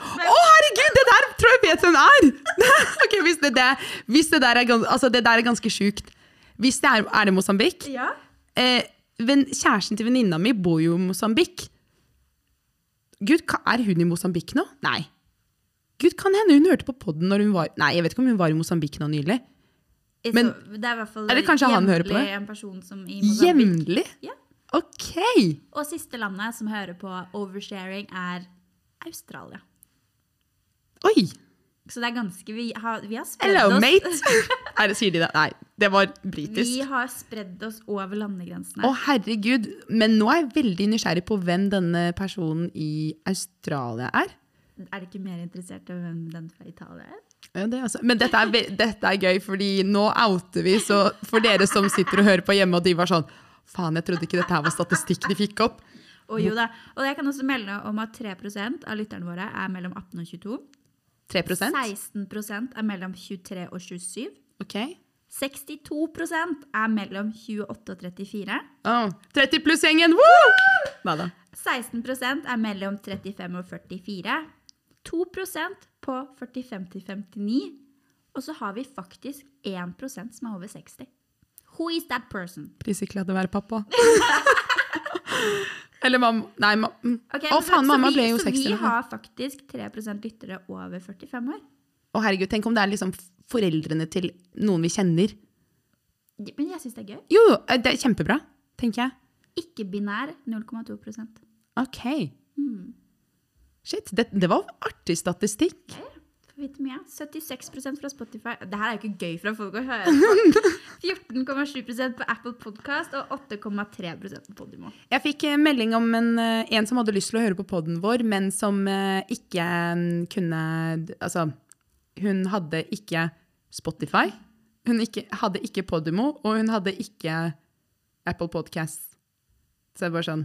[SPEAKER 1] Å, herregud! Det der tror jeg vet hvem er! ok, hvis det, der, hvis det der er ganske, altså, det der er ganske sjukt. Hvis det er, er det Mosambik
[SPEAKER 2] ja.
[SPEAKER 1] eh, venn- Kjæresten til venninna mi bor jo i Mosambik. Gud, ka- er hun i Mosambik nå? Nei. Gud, kan hende hun hørte på podden når hun var Nei, jeg vet ikke om hun var i Mosambik nå nylig. Men-
[SPEAKER 2] så, det er i hvert fall
[SPEAKER 1] Eller kanskje han hører på det?
[SPEAKER 2] jevnlig en person som i Mosambik.
[SPEAKER 1] Jevnlig?
[SPEAKER 2] Ja.
[SPEAKER 1] Ok!
[SPEAKER 2] Og siste landet som hører på oversharing, er Australia.
[SPEAKER 1] Oi!
[SPEAKER 2] Så det er ganske Vi har, vi har spredd
[SPEAKER 1] Hello,
[SPEAKER 2] oss
[SPEAKER 1] mate! Er det, sier de det? Nei, det var
[SPEAKER 2] Vi
[SPEAKER 1] britisk.
[SPEAKER 2] har spredd oss over landegrensene.
[SPEAKER 1] Å, herregud. Men nå er jeg veldig nysgjerrig på hvem denne personen i Australia er.
[SPEAKER 2] Er du ikke mer interessert i hvem den fra Italia er?
[SPEAKER 1] Ja, det er altså. Men dette er, ve- dette er gøy, fordi nå outer vi, så for dere som sitter og hører på hjemme, og de var sånn Faen, jeg trodde ikke dette her var statistikk de fikk opp.
[SPEAKER 2] Å, jo da. Og jeg kan også melde om at 3 av lytterne våre er mellom 18 og 22.
[SPEAKER 1] 3
[SPEAKER 2] 16 er mellom 23 og 27.
[SPEAKER 1] Ok.
[SPEAKER 2] 62 er mellom 28 og 34.
[SPEAKER 1] Å, 30 pluss-gjengen! Woo! Neida.
[SPEAKER 2] 16 er mellom 35 og 44. 2 på 45 til 59. Og så har vi faktisk 1 som er over 60. Who is that person?
[SPEAKER 1] Prisikla til å være pappa. Eller mamma Nei, ma mm.
[SPEAKER 2] Ok,
[SPEAKER 1] Å,
[SPEAKER 2] men
[SPEAKER 1] faen,
[SPEAKER 2] så
[SPEAKER 1] mamma
[SPEAKER 2] vi-
[SPEAKER 1] ble jo liksom.
[SPEAKER 2] så
[SPEAKER 1] 60
[SPEAKER 2] vi
[SPEAKER 1] nå.
[SPEAKER 2] har faktisk 3 lyttere over 45 år.
[SPEAKER 1] Å, herregud, tenk om det er liksom foreldrene til noen vi kjenner.
[SPEAKER 2] Men jeg syns det er gøy.
[SPEAKER 1] Jo, jo, eh, det er kjempebra, tenker jeg.
[SPEAKER 2] Ikke-binær 0,2
[SPEAKER 1] Ok.
[SPEAKER 2] Hmm.
[SPEAKER 1] Shit, det, det var artig statistikk.
[SPEAKER 2] Ja, ja. Får vite mye. 76 fra Spotify. Det her er jo ikke gøy for folk å høre. på. 14,7 på Apple Podcast og 8,3 på Podimo.
[SPEAKER 1] Jeg fikk eh, melding om en, eh, en som hadde lyst til å høre på poden vår, men som eh, ikke mm, kunne Altså, hun hadde ikke Spotify. Hun ikke, hadde ikke Podimo, og hun hadde ikke Apple Podcast. Så det er bare sånn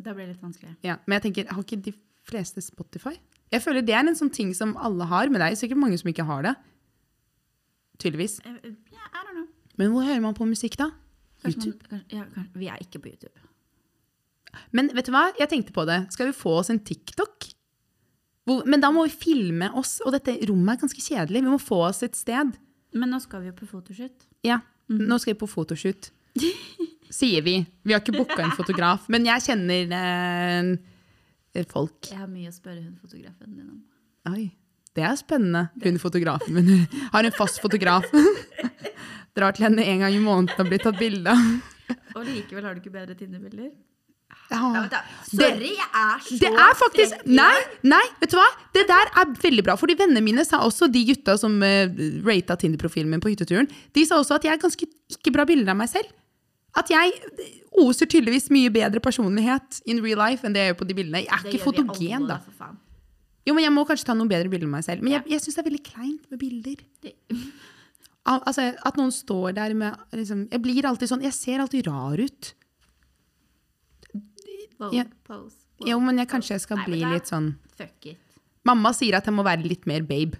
[SPEAKER 2] Da ble det litt vanskelig.
[SPEAKER 1] ja. Men jeg tenker, har ikke de fleste Spotify? Jeg føler det er en sånn ting som alle har, men det er jo sikkert mange som ikke har det. Tydeligvis.
[SPEAKER 2] Eh, eh, Ja, I don't know.
[SPEAKER 1] Men hvor hører man på musikk, da?
[SPEAKER 2] Kanskje man, kanskje, ja, kanskje, vi er ikke på YouTube.
[SPEAKER 1] Men vet du hva? Jeg tenkte på det. Skal vi få oss en TikTok? Hvor, men da må vi filme oss, og dette rommet er ganske kjedelig. Vi må få oss et sted.
[SPEAKER 2] Men nå skal vi jo på fotoshoot.
[SPEAKER 1] Ja, nå skal vi på fotoshoot. Sier vi. Vi har ikke booka en fotograf, men jeg kjenner eh, folk.
[SPEAKER 2] Jeg har mye å spørre hun fotografen din om.
[SPEAKER 1] Oi, det er spennende. Hun fotografen min har en fast fotograf. Drar til henne en gang i måneden og blir tatt bilde av.
[SPEAKER 2] Og likevel har du ikke bedre Tinder-bilder? Ja,
[SPEAKER 1] Ja.
[SPEAKER 2] vet du, Sorry, jeg er så
[SPEAKER 1] Det er faktisk
[SPEAKER 2] streng i
[SPEAKER 1] Nei,
[SPEAKER 2] dag.
[SPEAKER 1] nei, vet du hva? Det der er veldig bra. Fordi vennene mine sa også, de gutta som uh, rata Tinder-profilen min på hytteturen, de sa også at jeg er ganske ikke bra bilder av meg selv. At jeg eh, oser tydeligvis mye bedre personlighet in real life enn det jeg gjør på de bildene. Jeg er
[SPEAKER 2] Det
[SPEAKER 1] ikke
[SPEAKER 2] gjør vi alle,
[SPEAKER 1] fotogen, da.
[SPEAKER 2] for faen.
[SPEAKER 1] Jo, men jeg må kanskje ta noen bedre bilder av meg selv. Men jeg, jeg syns det er veldig kleint med bilder.
[SPEAKER 2] Det-
[SPEAKER 1] Al altså, at noen står der med liksom, Jeg blir alltid sånn Jeg ser alltid rar ut.
[SPEAKER 2] Vogue
[SPEAKER 1] Ja.
[SPEAKER 2] pose.
[SPEAKER 1] Jo, men jeg, kanskje jeg skal
[SPEAKER 2] Nei, men
[SPEAKER 1] bli
[SPEAKER 2] da-
[SPEAKER 1] litt sånn
[SPEAKER 2] Fuck it.
[SPEAKER 1] Mamma sier at jeg må være litt mer babe.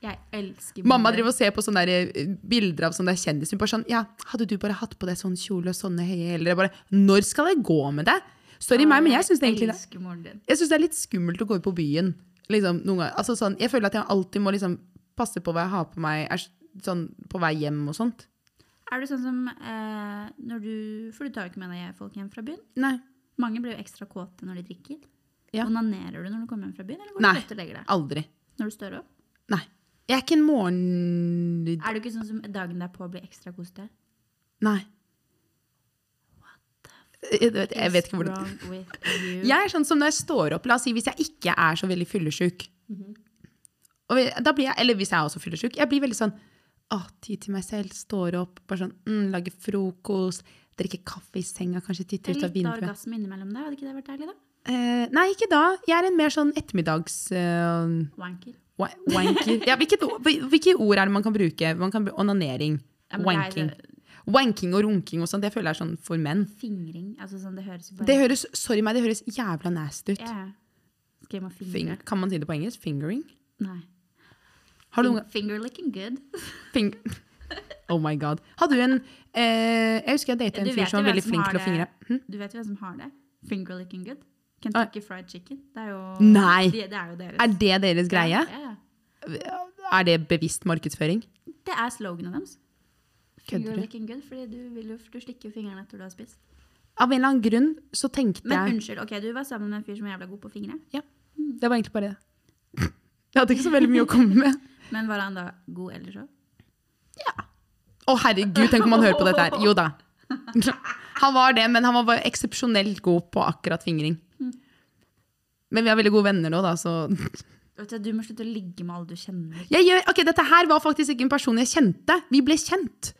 [SPEAKER 2] Jeg elsker
[SPEAKER 1] Mamma
[SPEAKER 2] bilder.
[SPEAKER 1] driver og ser på sånne der, eh, bilder av sånne der kjendiser. Hun Bare sånn, ja, hadde du bare hatt på deg sånn kjole og sånne høye hæler? Jeg Bare, når skal jeg gå med det? Sorry meg, men jeg syns det egentlig det,
[SPEAKER 2] elsker moren din.
[SPEAKER 1] jeg synes det er litt skummelt å gå ut på byen. Liksom, noen ganger. Altså, sånn, jeg føler at jeg alltid må liksom, passe på hva jeg har på meg er, sånn, på vei hjem og sånt.
[SPEAKER 2] Er du sånn som eh, når du For du tar jo ikke med deg folk hjem fra byen.
[SPEAKER 1] Nei,
[SPEAKER 2] Mange blir jo ekstra kåte når de drikker.
[SPEAKER 1] Ja.
[SPEAKER 2] Onanerer du når du kommer hjem fra byen, eller går
[SPEAKER 1] Nei.
[SPEAKER 2] du rett og legger deg?
[SPEAKER 1] aldri.
[SPEAKER 2] Når du står opp?
[SPEAKER 1] Nei. Jeg er ikke en morgen...
[SPEAKER 2] Er du ikke sånn som dagen derpå blir ekstra kosete?
[SPEAKER 1] Nei. Jeg vet, jeg vet ikke hvor det...
[SPEAKER 2] Wrong with you.
[SPEAKER 1] Jeg er sånn som når jeg står opp, la oss si hvis jeg ikke er så veldig fyllesyk. Og vi- da blir jeg, Eller hvis jeg er også fyllesyk. Jeg blir veldig sånn å, tid til meg selv, står opp, bare sånn, mm, lager frokost, drikker kaffe i senga, kanskje titter ut av
[SPEAKER 2] Litt
[SPEAKER 1] vinduet.
[SPEAKER 2] orgasme innimellom der, hadde ikke det vært deilig, da?
[SPEAKER 1] Eh, nei, ikke da. Jeg er en mer sånn ettermiddags... eh,
[SPEAKER 2] Wanker.
[SPEAKER 1] wa- wanker. Ja, hvilket, o- hvil- hvilke ord er det man kan bruke? Man kan br- Onanering.
[SPEAKER 2] Ja, men det er
[SPEAKER 1] wanking. Wanking og runking og sånn, det føler jeg er sånn for menn.
[SPEAKER 2] Fingring. Altså sånn, det høres jo bare
[SPEAKER 1] Det høres, sorry meg, det høres jævla nasty ut.
[SPEAKER 2] Ja. Skal jeg må fingre?
[SPEAKER 1] Fing, kan man si det på engelsk? Fingering?
[SPEAKER 2] Nei.
[SPEAKER 1] Har du noen
[SPEAKER 2] Fing- Finger looking good.
[SPEAKER 1] Fing oh my god. Hadde du en eh, Jeg husker jeg datet en
[SPEAKER 2] Du
[SPEAKER 1] fyr
[SPEAKER 2] vet
[SPEAKER 1] som
[SPEAKER 2] jo
[SPEAKER 1] var
[SPEAKER 2] hvem
[SPEAKER 1] veldig
[SPEAKER 2] som
[SPEAKER 1] flink
[SPEAKER 2] har
[SPEAKER 1] til å fingre.
[SPEAKER 2] det.
[SPEAKER 1] Hm?
[SPEAKER 2] Du vet jo hvem som har det? Finger looking good. Kentucky Fried Chicken. Det er jo
[SPEAKER 1] Nei.
[SPEAKER 2] Det, det er jo deres.
[SPEAKER 1] Er det deres greie?
[SPEAKER 2] Ja, ja.
[SPEAKER 1] Er det bevisst markedsføring?
[SPEAKER 2] Det er sloganet deres. Finger
[SPEAKER 1] Kødder du?
[SPEAKER 2] looking good, fordi du, vil jo, du stikker jo fingrene etter du har spist.
[SPEAKER 1] Av en eller annen grunn så tenkte
[SPEAKER 2] Men
[SPEAKER 1] jeg
[SPEAKER 2] unnskyld, ok, du var sammen med en fyr som var jævla god på fingre.
[SPEAKER 1] ja, Det var egentlig bare det. Jeg hadde ikke så veldig mye å komme med.
[SPEAKER 2] Men var han da god ellers òg?
[SPEAKER 1] Å herregud, tenk om han hører på dette her. Jo da. Han var det, men han var bare eksepsjonelt god på akkurat fingring.
[SPEAKER 2] Hm.
[SPEAKER 1] Men vi er veldig gode venner nå, da, så
[SPEAKER 2] Vet du, du må slutte å ligge med alle du kjenner.
[SPEAKER 1] Jeg gjør, ok, Dette her var faktisk ikke en person jeg kjente. Vi ble kjent.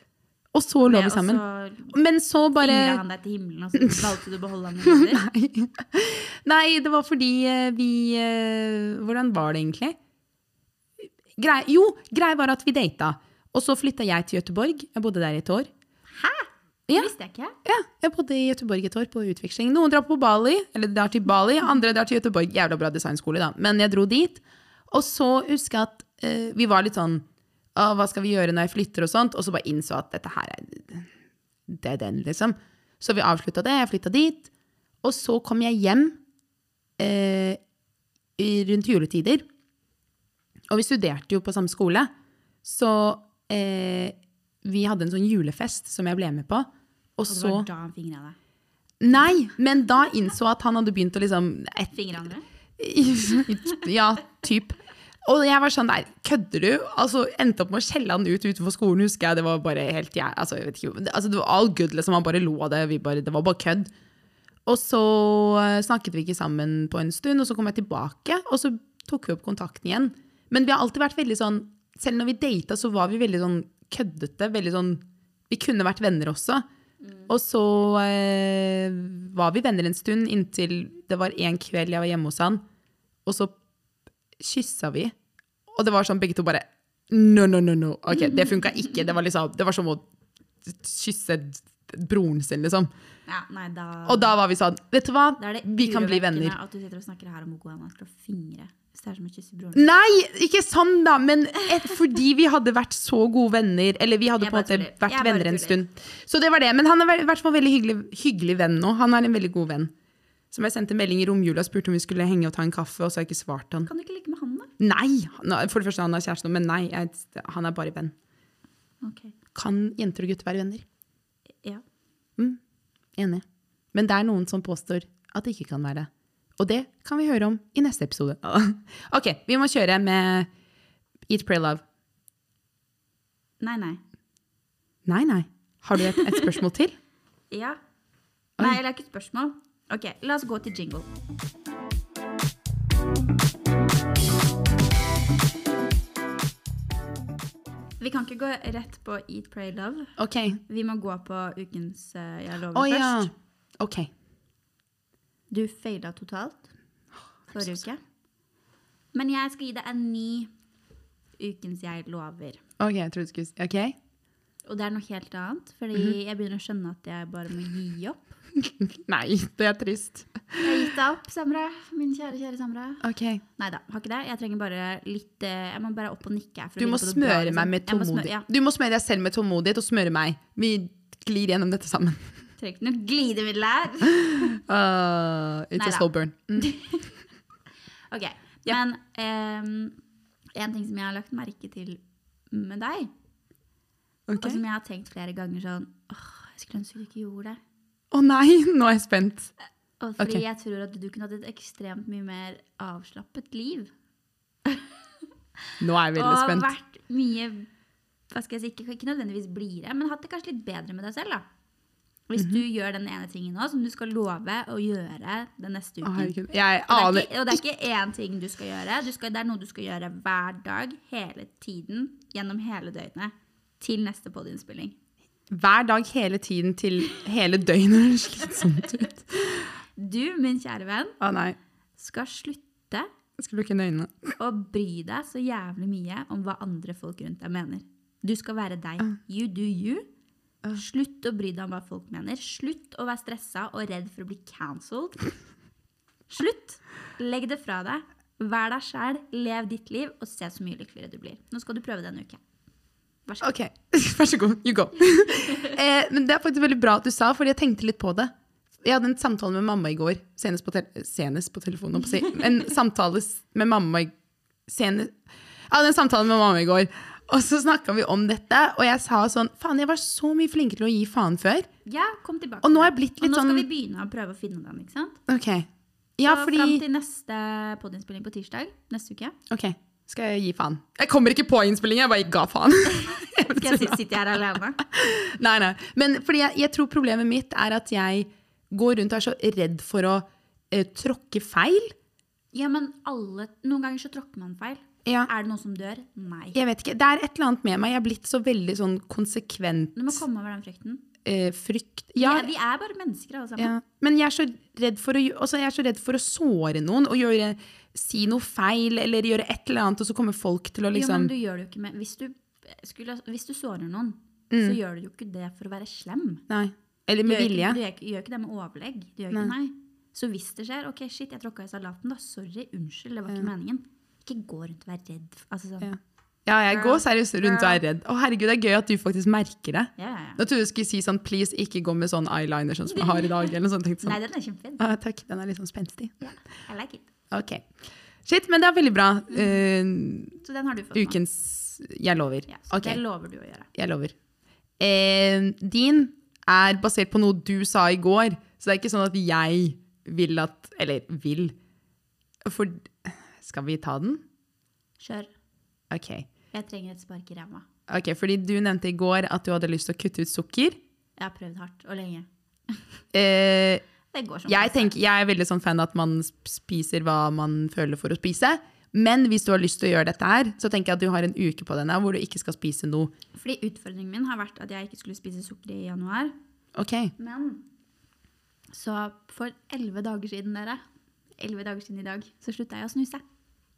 [SPEAKER 1] Og så lå
[SPEAKER 2] Ja,
[SPEAKER 1] vi sammen.
[SPEAKER 2] Og så
[SPEAKER 1] Men så bare
[SPEAKER 2] fingret han deg til himmelen, og så valgte du å beholde han med videre.
[SPEAKER 1] Nei. Nei, det var fordi eh, vi eh, Hvordan var det egentlig? Grei, jo, grei var at vi data. Og så flytta jeg til Gøteborg. Jeg bodde der i et år.
[SPEAKER 2] Det
[SPEAKER 1] Ja.
[SPEAKER 2] visste jeg ikke.
[SPEAKER 1] Ja, jeg bodde i Gøteborg et år på utveksling. Noen drar på Bali, eller drar til Bali, andre drar til Gøteborg. Jævla bra designskole, da. Men jeg dro dit. Og så husker jeg at eh, vi var litt sånn «Å, Hva skal vi gjøre når jeg flytter, og sånt? Og så bare innså at dette her er Det er den, liksom. Så vi avslutta det. Jeg flytta dit. Og så kom jeg hjem eh, i- rundt juletider. Og vi studerte jo på samme skole. Så eh, vi hadde en sånn julefest som jeg ble med på. Og
[SPEAKER 2] Og det
[SPEAKER 1] så
[SPEAKER 2] var da han fingra deg.
[SPEAKER 1] Nei, men da innså at han hadde begynt å liksom et,
[SPEAKER 2] Fingra andre?
[SPEAKER 1] Ja, typ. Og jeg var sånn, nei, kødder du? Altså, endte opp med å skjelle han ut utenfor skolen, husker jeg. Det var bare helt, jeg, altså, jeg vet ikke, altså, det var all good, liksom. Han bare lo av det, vi bare, det var bare kødd. Og så eh, snakket vi ikke sammen på en stund, og så kom jeg tilbake, og så tok vi opp kontakten igjen. Men vi har alltid vært veldig sånn, selv når vi data, så var vi veldig sånn køddete, veldig sånn, vi kunne vært venner også. Og så eh, var vi venner en stund, inntil det var en kveld jeg var hjemme hos han, og så kyssa vi. Og det var sånn begge to bare No, no, no, no. Ok, Det funka ikke. Det var, liksom, det var som å kysse broren sin, liksom.
[SPEAKER 2] Ja, nei, da
[SPEAKER 1] Og da var vi sånn Vet du hva?
[SPEAKER 2] Da er det
[SPEAKER 1] Vi kan bli
[SPEAKER 2] urovekkende
[SPEAKER 1] venner.
[SPEAKER 2] At du sitter og snakker her om hvor god han er til å fingre. Hvis det er som å kysse broren.
[SPEAKER 1] Nei, ikke sånn, da! Men et, fordi vi hadde vært så gode venner. Eller vi hadde
[SPEAKER 2] Jeg
[SPEAKER 1] på en
[SPEAKER 2] bare
[SPEAKER 1] måte
[SPEAKER 2] tuller.
[SPEAKER 1] vært
[SPEAKER 2] Jeg bare
[SPEAKER 1] venner en
[SPEAKER 2] tuller.
[SPEAKER 1] stund. Så det var det. Men han er i hvert fall veldig hyggelig, hyggelig venn nå. Han er en veldig god venn. Som jeg sendte melding i romjula og spurte om vi skulle henge og ta en kaffe, og så har jeg ikke svart han.
[SPEAKER 2] Kan du ikke ligge med han, da?
[SPEAKER 1] Nei! han- For det første, han har kjæreste nå, men nei, jeg, han er bare venn.
[SPEAKER 2] Ok,
[SPEAKER 1] Kan jenter og gutter være venner?
[SPEAKER 2] ja.
[SPEAKER 1] Enig. Men det er noen som påstår at det ikke kan være det. Og det kan vi høre om i neste episode. ok, vi må kjøre med Eat, Pray, Love.
[SPEAKER 2] Nei, nei.
[SPEAKER 1] Nei, nei. Har du et, et spørsmål til?
[SPEAKER 2] Ja. Nei, eller ikke et spørsmål. Ok, la oss gå til jingle. Vi kan ikke gå rett på Eat, Pray, Love.
[SPEAKER 1] Ok.
[SPEAKER 2] Vi må gå på ukens eh, Jeg lover
[SPEAKER 1] Å ja.
[SPEAKER 2] først.
[SPEAKER 1] Ok.
[SPEAKER 2] Du faila totalt forrige uke. Men jeg skal gi deg en ny ukens Jeg lover.
[SPEAKER 1] Ok, jeg trodde du skulle si Ok.
[SPEAKER 2] Og det er noe helt annet, fordi jeg begynner å skjønne at jeg bare må gi opp.
[SPEAKER 1] Nei, det er trist.
[SPEAKER 2] Jeg har gitt deg opp, Samra. Min kjære, kjære Samra.
[SPEAKER 1] Ok.
[SPEAKER 2] Nei da, har ikke det. Jeg trenger bare litt eh, Jeg må bare opp og nikke. her for å
[SPEAKER 1] Du må
[SPEAKER 2] ligge på det bra,
[SPEAKER 1] smøre
[SPEAKER 2] liksom.
[SPEAKER 1] meg med
[SPEAKER 2] Jeg må smøre- Ja,
[SPEAKER 1] tålmodighet. Du må smøre deg selv med tålmodighet og smøre meg. Vi glir gjennom dette sammen.
[SPEAKER 2] trenger ikke noe glidemiddel her.
[SPEAKER 1] Uh, it's a
[SPEAKER 2] Neida.
[SPEAKER 1] slow burn. Mm.
[SPEAKER 2] Ok, Men ehm, en ting som jeg har lagt merke til med deg, og som
[SPEAKER 1] Ok.
[SPEAKER 2] jeg har tenkt flere ganger sånn åh, Jeg skulle ønske du ikke gjorde det.
[SPEAKER 1] Å nei, nå er jeg spent.
[SPEAKER 2] Og fordi
[SPEAKER 1] Ok.
[SPEAKER 2] jeg tror at du kunne hatt et ekstremt mye mer avslappet liv.
[SPEAKER 1] Nå er jeg veldig
[SPEAKER 2] og
[SPEAKER 1] spent.
[SPEAKER 2] vært mye hva skal jeg si, ikke, ikke nødvendigvis blidere, men hatt det kanskje litt bedre med deg selv. da. Hvis
[SPEAKER 1] Mhm.
[SPEAKER 2] du gjør den ene tingen nå som du skal love å gjøre den
[SPEAKER 1] Å,
[SPEAKER 2] neste uken.
[SPEAKER 1] herregud. Jeg
[SPEAKER 2] og,
[SPEAKER 1] aner
[SPEAKER 2] det er ikke, og det er ikke én ting du skal gjøre. Du skal, det er noe du skal gjøre hver dag, hele tiden, gjennom hele døgnet. Til neste podiinnspilling.
[SPEAKER 1] hver dag hele tiden til hele døgnet. Det høres litt sånt ut.
[SPEAKER 2] Du, min kjære venn,
[SPEAKER 1] Å nei,
[SPEAKER 2] skal slutte
[SPEAKER 1] skal lukke øynene.
[SPEAKER 2] å bry deg så jævlig mye om hva andre folk rundt deg mener. Du skal være deg.
[SPEAKER 1] Ah.
[SPEAKER 2] You do you. Slutt å bry deg om hva folk mener. Slutt å være stressa og redd for å bli cancelled. Slutt! Legg det fra deg. Vær deg sjæl, lev ditt liv, og se så mye lykkeligere du blir. Nå skal du prøve det en uke. Vær så god.
[SPEAKER 1] Ok, vær så god, you go. eh, men det er faktisk veldig bra at du sa, fordi jeg tenkte litt på det. Jeg hadde en samtale med mamma i går, senest på, tel senest på telefonen, holdt på å si. en samtale s- med mamma i senest... Jeg hadde en samtale med mamma i går, og så snakket vi om dette, og jeg sa sånn, faen, jeg var så mye flinkere til å gi faen før.
[SPEAKER 2] Ja, kom tilbake.
[SPEAKER 1] Og nå har jeg blitt
[SPEAKER 2] Og
[SPEAKER 1] litt
[SPEAKER 2] nå skal
[SPEAKER 1] sånn...
[SPEAKER 2] vi begynne å prøve å finne den. ikke sant?
[SPEAKER 1] Ok, ja,
[SPEAKER 2] Så Fram
[SPEAKER 1] fordi...
[SPEAKER 2] til neste podiinnspilling på tirsdag neste uke.
[SPEAKER 1] Ok, skal jeg gi faen? Jeg kommer ikke på innspillingen, jeg bare ga faen.
[SPEAKER 2] Skal jeg si- sitte her alene?
[SPEAKER 1] nei, nei. Men fordi jeg, jeg tror problemet mitt er at jeg går rundt og er så redd for å eh, tråkke feil.
[SPEAKER 2] Ja, men alle Noen ganger så tråkker man feil.
[SPEAKER 1] Ja.
[SPEAKER 2] Er det noen som dør? Nei.
[SPEAKER 1] Jeg vet ikke, Det er et eller annet med meg. Jeg er blitt så veldig sånn konsekvent
[SPEAKER 2] Du må komme over den frykten.
[SPEAKER 1] eh, frykt.
[SPEAKER 2] Vi
[SPEAKER 1] Ja,
[SPEAKER 2] er- vi er bare mennesker, alle sammen.
[SPEAKER 1] ja. Men jeg er, så redd for å, gjø- altså, jeg er så redd for å såre noen og gjøre, si noe feil eller gjøre et eller annet, og så kommer folk til å
[SPEAKER 2] Jo, men
[SPEAKER 1] liksom
[SPEAKER 2] du gjør det jo ikke med Hvis du, skulle, hvis du sårer noen, så gjør du jo ikke det for å være slem.
[SPEAKER 1] Nei. Eller
[SPEAKER 2] Du
[SPEAKER 1] Mm. med
[SPEAKER 2] gjør,
[SPEAKER 1] vilje.
[SPEAKER 2] ikke, du gjør, ikke- gjør ikke det med overlegg. Du gjør ikke nei. Så hvis det skjer, ok, shit, jeg tråkka i salaten, da. Sorry, unnskyld, det var ikke meningen. Ikke gå rundt og være redd. f- Altså sånn.
[SPEAKER 1] Ja. Ja, jeg går seriøst rundt og er redd. Å, herregud, det er gøy at du faktisk merker det.
[SPEAKER 2] Ja, ja, ja.
[SPEAKER 1] Jeg trodde du skulle si sånn Please, ikke gå med sånn eyeliner sånn som jeg har i dag. Eller noe sånt. Tenkte
[SPEAKER 2] Nei,
[SPEAKER 1] sånn.
[SPEAKER 2] den er kjempefin.
[SPEAKER 1] «Å, takk, den er litt sånn spenstig.
[SPEAKER 2] Ja, I like it.
[SPEAKER 1] Ok. Shit, men det er veldig bra. Eh,
[SPEAKER 2] Så den har du fått nå.
[SPEAKER 1] ukens Jeg lover.
[SPEAKER 2] Mm. Ja, så
[SPEAKER 1] Ok,
[SPEAKER 2] det lover du å gjøre.
[SPEAKER 1] jeg lover. Eh, din er basert på noe du sa i går, så det er ikke sånn at jeg vil at Eller vil. For Skal vi ta den?
[SPEAKER 2] Kjør.
[SPEAKER 1] OK.
[SPEAKER 2] Jeg trenger et spark i ræva.
[SPEAKER 1] Ok, Fordi du nevnte i går at du hadde lyst til å kutte ut sukker.
[SPEAKER 2] Jeg har prøvd hardt og lenge.
[SPEAKER 1] Eh,
[SPEAKER 2] Det går som
[SPEAKER 1] jeg, tenker, jeg er veldig sånn fan at man sp- spiser hva man føler for å spise. Men hvis du har lyst til å gjøre dette her, så tenker jeg at du har en uke på denne hvor du ikke skal spise noe.
[SPEAKER 2] Fordi utfordringen min har vært at jeg ikke skulle spise sukker i januar.
[SPEAKER 1] Ok,
[SPEAKER 2] Men så for elleve dager siden, dere, 11 dager siden i dag, så slutta jeg å snuse.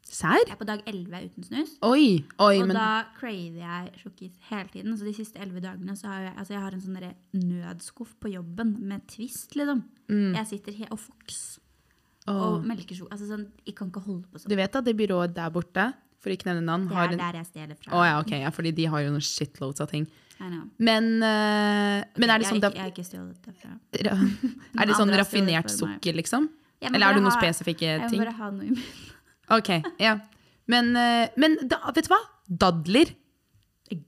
[SPEAKER 1] Serr?
[SPEAKER 2] Jeg er på dag 11 uten snus.
[SPEAKER 1] Oi, oi,
[SPEAKER 2] og
[SPEAKER 1] men
[SPEAKER 2] da craver jeg sjokkis hele tiden. Så de siste 11 dagene så har jeg, altså jeg har en sånn derre nødskuff på jobben med Twist, liksom. Jeg sitter he og Fox
[SPEAKER 1] Mm. Åh.
[SPEAKER 2] og melkesjokolade. Altså sånn, jeg kan ikke holde på sånn.
[SPEAKER 1] du vet at det byrået der borte, for ikke nevne navn,
[SPEAKER 2] Det
[SPEAKER 1] har
[SPEAKER 2] er
[SPEAKER 1] en Å
[SPEAKER 2] der jeg stjeler fra.
[SPEAKER 1] ja, ok, ja, fordi de har jo noen shitloads av ting.
[SPEAKER 2] I know.
[SPEAKER 1] Men, eh, men er det sånn,
[SPEAKER 2] jeg,
[SPEAKER 1] da-
[SPEAKER 2] har ikke- jeg har ikke stjålet det fra.
[SPEAKER 1] er det
[SPEAKER 2] Noen
[SPEAKER 1] sånn
[SPEAKER 2] andre har stjålet
[SPEAKER 1] raffinert
[SPEAKER 2] for meg.
[SPEAKER 1] sukker, liksom?
[SPEAKER 2] Jeg
[SPEAKER 1] Eller
[SPEAKER 2] må
[SPEAKER 1] er det
[SPEAKER 2] bare
[SPEAKER 1] noen
[SPEAKER 2] ha-
[SPEAKER 1] spesifikke
[SPEAKER 2] Jeg må
[SPEAKER 1] ting?
[SPEAKER 2] bare ha noe i munnen.
[SPEAKER 1] Ok, ja. Men, eh, men da, vet du hva? Dadler.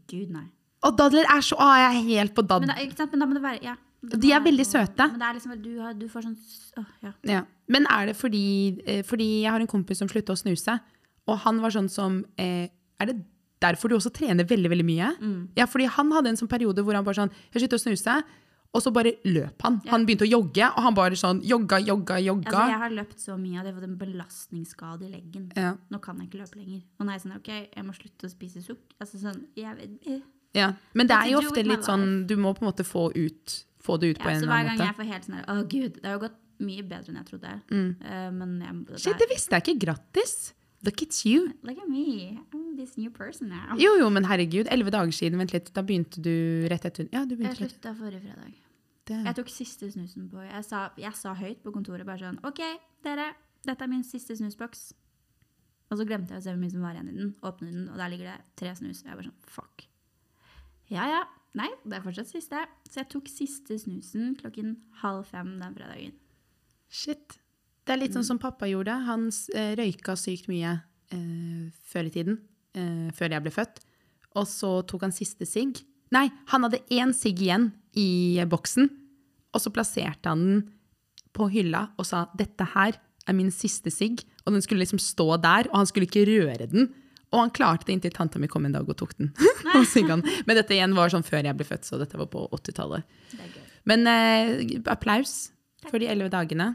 [SPEAKER 2] Gud, nei.
[SPEAKER 1] Og dadler er så Å, jeg er helt på
[SPEAKER 2] Men
[SPEAKER 1] dadler.
[SPEAKER 2] da, ikke sant? Men da må det være ja. Det
[SPEAKER 1] De
[SPEAKER 2] må
[SPEAKER 1] er
[SPEAKER 2] være
[SPEAKER 1] veldig
[SPEAKER 2] noe-
[SPEAKER 1] søte.
[SPEAKER 2] Men det er liksom, at du, har, du får sånn s- åh, ja.
[SPEAKER 1] Ja. Men er det fordi eh, Fordi jeg har en kompis som slutta å snuse, og han var sånn som eh, Er det derfor du også trener veldig, veldig mye?
[SPEAKER 2] Mm.
[SPEAKER 1] Ja, fordi han hadde en sånn periode hvor han bare sånn Jeg slutta å snuse. Og så bare løp han. Han begynte å jogge, og han bare sånn jogga, jogga, jogga.
[SPEAKER 2] Altså, jeg har løpt så mye at jeg har fått en belastningsskade i leggen.
[SPEAKER 1] Ja.
[SPEAKER 2] Nå kan jeg ikke løpe lenger. Og nå er jeg sånn, ok, jeg må slutte å spise sukker. Altså sånn, jeg vet eh.
[SPEAKER 1] ja. Men det
[SPEAKER 2] What
[SPEAKER 1] er
[SPEAKER 2] to
[SPEAKER 1] jo
[SPEAKER 2] do
[SPEAKER 1] ofte
[SPEAKER 2] with my
[SPEAKER 1] litt sånn Du må på en måte få ut Få det ut
[SPEAKER 2] ja,
[SPEAKER 1] på en
[SPEAKER 2] Så
[SPEAKER 1] eller
[SPEAKER 2] hver
[SPEAKER 1] annen
[SPEAKER 2] gang
[SPEAKER 1] måte.
[SPEAKER 2] jeg får helt sånn, her, å gud, det har jo gått mye bedre enn jeg trodde. Eh, men jeg, det
[SPEAKER 1] Mm. Shit, det visste jeg ikke. Grattis! Look at you.
[SPEAKER 2] Look at me, I'm this new person now.
[SPEAKER 1] Jo, jo, men herregud. Elleve dager siden, vent litt. Da begynte du rett etter Ja, du
[SPEAKER 2] Jeg
[SPEAKER 1] begynte rett
[SPEAKER 2] slutta forrige fredag.
[SPEAKER 1] etter.
[SPEAKER 2] Jeg tok siste snusen på, jeg sa, jeg sa høyt på kontoret, bare sånn, ok, dere, dette er min siste snusboks. Og så glemte jeg å se hvor mye som var igjen i den. Åpnet den, og der ligger det tre snus. Og jeg bare sånn, fuck. Ja, ja. Nei, det er fortsatt siste. Så jeg tok siste snusen klokken halv fem den fredagen.
[SPEAKER 1] Shit. Det er litt sånn som pappa gjorde. Han eh, røyka sykt mye eh, før i tiden, eh, før jeg ble født. Og så tok han siste sigg. Nei, han hadde én sigg igjen i eh, boksen. Og så plasserte han den på hylla og sa dette her er min siste sigg. Og den skulle liksom stå der, og han skulle ikke røre den. Og han klarte det inntil tanta mi kom en dag og tok den. og sigga den. Men dette igjen var sånn før jeg ble født, så dette var på 80-tallet.
[SPEAKER 2] Det er gøy.
[SPEAKER 1] Men eh, applaus for de elleve dagene.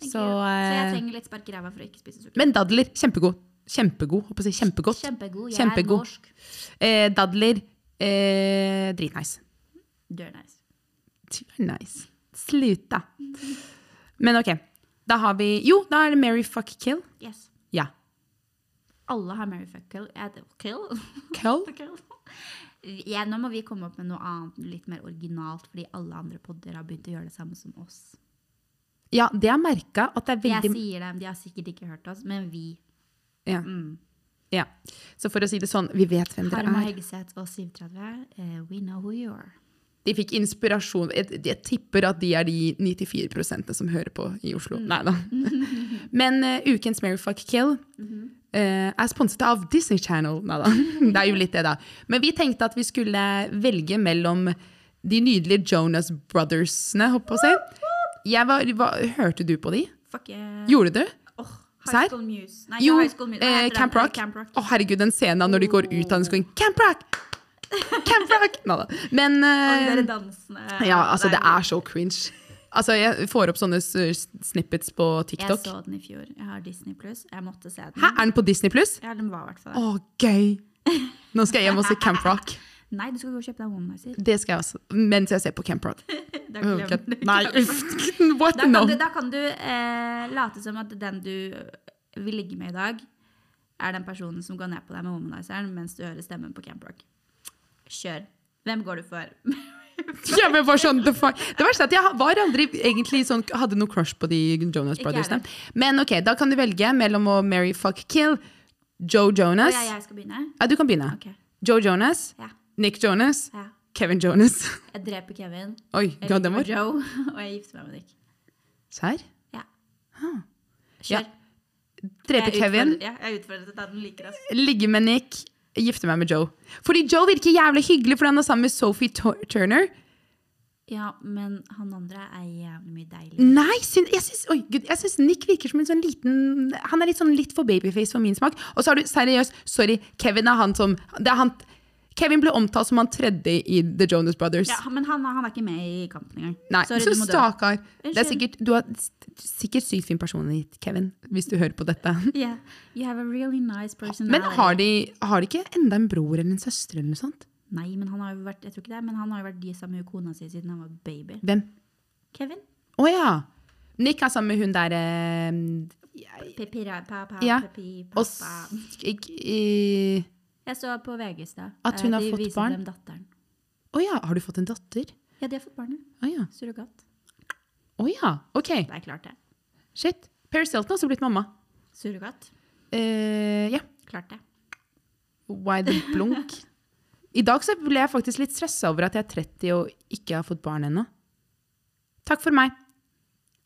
[SPEAKER 2] Thank
[SPEAKER 1] Så,
[SPEAKER 2] you. så jeg
[SPEAKER 1] eh,
[SPEAKER 2] trenger litt spark i ræva for å ikke spise sukker.
[SPEAKER 1] men dadler, kjempegod. Kjempegod. Håper jeg, å si kjempegodt.
[SPEAKER 2] Kjempegod. Jeg
[SPEAKER 1] Kjempegod.
[SPEAKER 2] er norsk.
[SPEAKER 1] Eh, dadler, eh, dritnice.
[SPEAKER 2] Du er nice.
[SPEAKER 1] Du er nice. Sluta. Men ok, da har vi Jo, da er det Mary fuck kill.
[SPEAKER 2] Yes.
[SPEAKER 1] Ja.
[SPEAKER 2] Alle har Mary fuck kill. Jeg heter kill.
[SPEAKER 1] Kill?
[SPEAKER 2] Kill. Ja, nå må vi komme opp med noe annet, litt mer originalt, fordi alle andre podder har begynt å gjøre det samme som oss.
[SPEAKER 1] Ja, det er merka at det er
[SPEAKER 2] Jeg
[SPEAKER 1] veldig
[SPEAKER 2] sier dem, de har sikkert ikke hørt oss, men vi.
[SPEAKER 1] ja.
[SPEAKER 2] Mm.
[SPEAKER 1] ja. Så for å si det sånn, vi vet hvem dere
[SPEAKER 2] Harma
[SPEAKER 1] er.
[SPEAKER 2] Hegseth og 730, eh, we know who you are.
[SPEAKER 1] De fikk inspirasjon. Jeg, jeg tipper at de er de 94 som hører på i Oslo. Nei da. Men eh, ukens Mary Fuck Kill eh, er sponset av Disney Channel. Nei da. Det er jo litt det, da. Men vi tenkte at vi skulle velge mellom de nydelige Jonas Brothersene, holdt på å si. Jeg var, var, hørte du på de?
[SPEAKER 2] Fuck yeah.
[SPEAKER 1] Gjorde du?
[SPEAKER 2] Åh,
[SPEAKER 1] Serr?
[SPEAKER 2] High School Muse. Nei,
[SPEAKER 1] Jo,
[SPEAKER 2] ikke High School Muse. Hva
[SPEAKER 1] eh,
[SPEAKER 2] heter den?
[SPEAKER 1] Camp Rock.
[SPEAKER 2] Camp Rock.
[SPEAKER 1] Å, herregud, den scenen når de går ut av den skolen. Camp Rock! Camp Rock! Nei da. Men
[SPEAKER 2] Og de
[SPEAKER 1] eh,
[SPEAKER 2] der dansene.
[SPEAKER 1] ja, altså, det
[SPEAKER 2] Der.
[SPEAKER 1] er så cringe. Altså, jeg får opp sånne s- snippets på
[SPEAKER 2] Jeg
[SPEAKER 1] TikTok.
[SPEAKER 2] så den i fjor. Jeg har Disney pluss. Jeg måtte se den.
[SPEAKER 1] Hæ, er den på Disney pluss?
[SPEAKER 2] Ja, den var i hvert fall
[SPEAKER 1] Å,
[SPEAKER 2] der.
[SPEAKER 1] gøy! Nå skal jeg hjem og se Camp Rock.
[SPEAKER 2] Nei, du skal gå og kjøpe deg womanizer.
[SPEAKER 1] Det skal jeg også. Mens jeg ser på Camp Rock.
[SPEAKER 2] Da,
[SPEAKER 1] Åh,
[SPEAKER 2] glemmer
[SPEAKER 1] Gud.
[SPEAKER 2] du.
[SPEAKER 1] Nei, uff. What?
[SPEAKER 2] Da
[SPEAKER 1] No.
[SPEAKER 2] kan du, da kan du eh, late som at den du vil ligge med i dag, er den personen som går ned på deg med womanizeren mens du hører stemmen på Camp Rock. Kjør. Hvem går du for?
[SPEAKER 1] Ja, men bare sånn, the fuck. Det verste er at jeg var aldri egentlig sånn, hadde noe crush på de Jonas
[SPEAKER 2] Ikke
[SPEAKER 1] Brothersene.
[SPEAKER 2] heller.
[SPEAKER 1] Men ok, da kan du velge mellom å marry, fuck, kill Joe
[SPEAKER 2] Å,
[SPEAKER 1] Jonas.
[SPEAKER 2] ja, jeg skal begynne?
[SPEAKER 1] Ja, du kan begynne.
[SPEAKER 2] Ok.
[SPEAKER 1] Joe Jonas,
[SPEAKER 2] Ja.
[SPEAKER 1] Nick Jonas,
[SPEAKER 2] ja.
[SPEAKER 1] Kevin Jonas.
[SPEAKER 2] Jeg dreper Kevin.
[SPEAKER 1] Oi,
[SPEAKER 2] Jeg
[SPEAKER 1] ja,
[SPEAKER 2] ligger
[SPEAKER 1] den
[SPEAKER 2] med
[SPEAKER 1] var
[SPEAKER 2] Joe, og jeg gifter meg med Nick.
[SPEAKER 1] Serr?
[SPEAKER 2] Ja.
[SPEAKER 1] Ja,
[SPEAKER 2] Kjør. Jeg
[SPEAKER 1] Drepe
[SPEAKER 2] er
[SPEAKER 1] Kevin,
[SPEAKER 2] utfordret- Ja, jeg er utfordret til å ta den like raskt.
[SPEAKER 1] ligge med Nick, gifte meg med Joe. Fordi Joe virker jævlig hyggelig fordi han er sammen med Sophie Tur- Turner.
[SPEAKER 2] Ja, men han andre er jævlig mye deilig.
[SPEAKER 1] Nei, syn, jeg syns oi, Gud, jeg syns Nick virker som en sånn liten Han er litt sånn litt for babyface for min smak. Og så har du seriøst, sorry, Kevin er han som det er han, Kevin ble omtalt som han tredje i The Jonas Brothers.
[SPEAKER 2] Ja, men han, han er ikke med i kampen engang.
[SPEAKER 1] Nei,
[SPEAKER 2] Sorry,
[SPEAKER 1] så
[SPEAKER 2] du må dø.
[SPEAKER 1] stakkar. Det er
[SPEAKER 2] Unnskyld.
[SPEAKER 1] sikkert, du har s- sikkert sykt fin personlighet, Kevin, hvis du hører på dette.
[SPEAKER 2] Yeah, you have a really nice personality.
[SPEAKER 1] Men har de, har de ikke enda en bror eller en søster eller noe sånt?
[SPEAKER 2] Nei, men han har jo vært, jeg tror ikke det, men han har jo vært de sammen med kona si siden han var baby.
[SPEAKER 1] Hvem?
[SPEAKER 2] Kevin?
[SPEAKER 1] Å ja! Nick er sammen med hun der eh,
[SPEAKER 2] Pepira, pa, pa,
[SPEAKER 1] Ja,
[SPEAKER 2] pepi,
[SPEAKER 1] Og
[SPEAKER 2] pappa.
[SPEAKER 1] s... ik- i-
[SPEAKER 2] Jeg så på VG i stad.
[SPEAKER 1] At hun har
[SPEAKER 2] Eh, de
[SPEAKER 1] fått
[SPEAKER 2] viser
[SPEAKER 1] barn?
[SPEAKER 2] Dem datteren.
[SPEAKER 1] Å ja, har du fått en datter?
[SPEAKER 2] Ja, de har fått barnet.
[SPEAKER 1] Å ja.
[SPEAKER 2] Surrogat.
[SPEAKER 1] Å ja, ok.
[SPEAKER 2] Det er klart det.
[SPEAKER 1] Shit. Paris Hilton har også blitt mamma.
[SPEAKER 2] Surrogat.
[SPEAKER 1] Eh, ja.
[SPEAKER 2] Klart det.
[SPEAKER 1] Why the blunk? I dag så ble jeg faktisk litt stressa over at jeg er 30 og ikke har fått barn ennå. Takk for meg.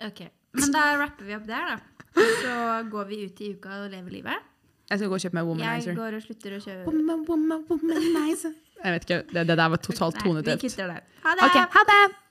[SPEAKER 2] Ok, men da rapper vi opp der da. Så går vi ut i uka og lever livet.
[SPEAKER 1] Jeg skal gå og kjøpe meg
[SPEAKER 2] Jeg
[SPEAKER 1] womanizer.
[SPEAKER 2] går og slutter å kjøpe.
[SPEAKER 1] Woman, woman, womanizer. Jeg vet ikke, det, det der var totalt
[SPEAKER 2] Nei, Vi
[SPEAKER 1] tonedøvt.
[SPEAKER 2] kutter der. Ha det!
[SPEAKER 1] Ok, ha det!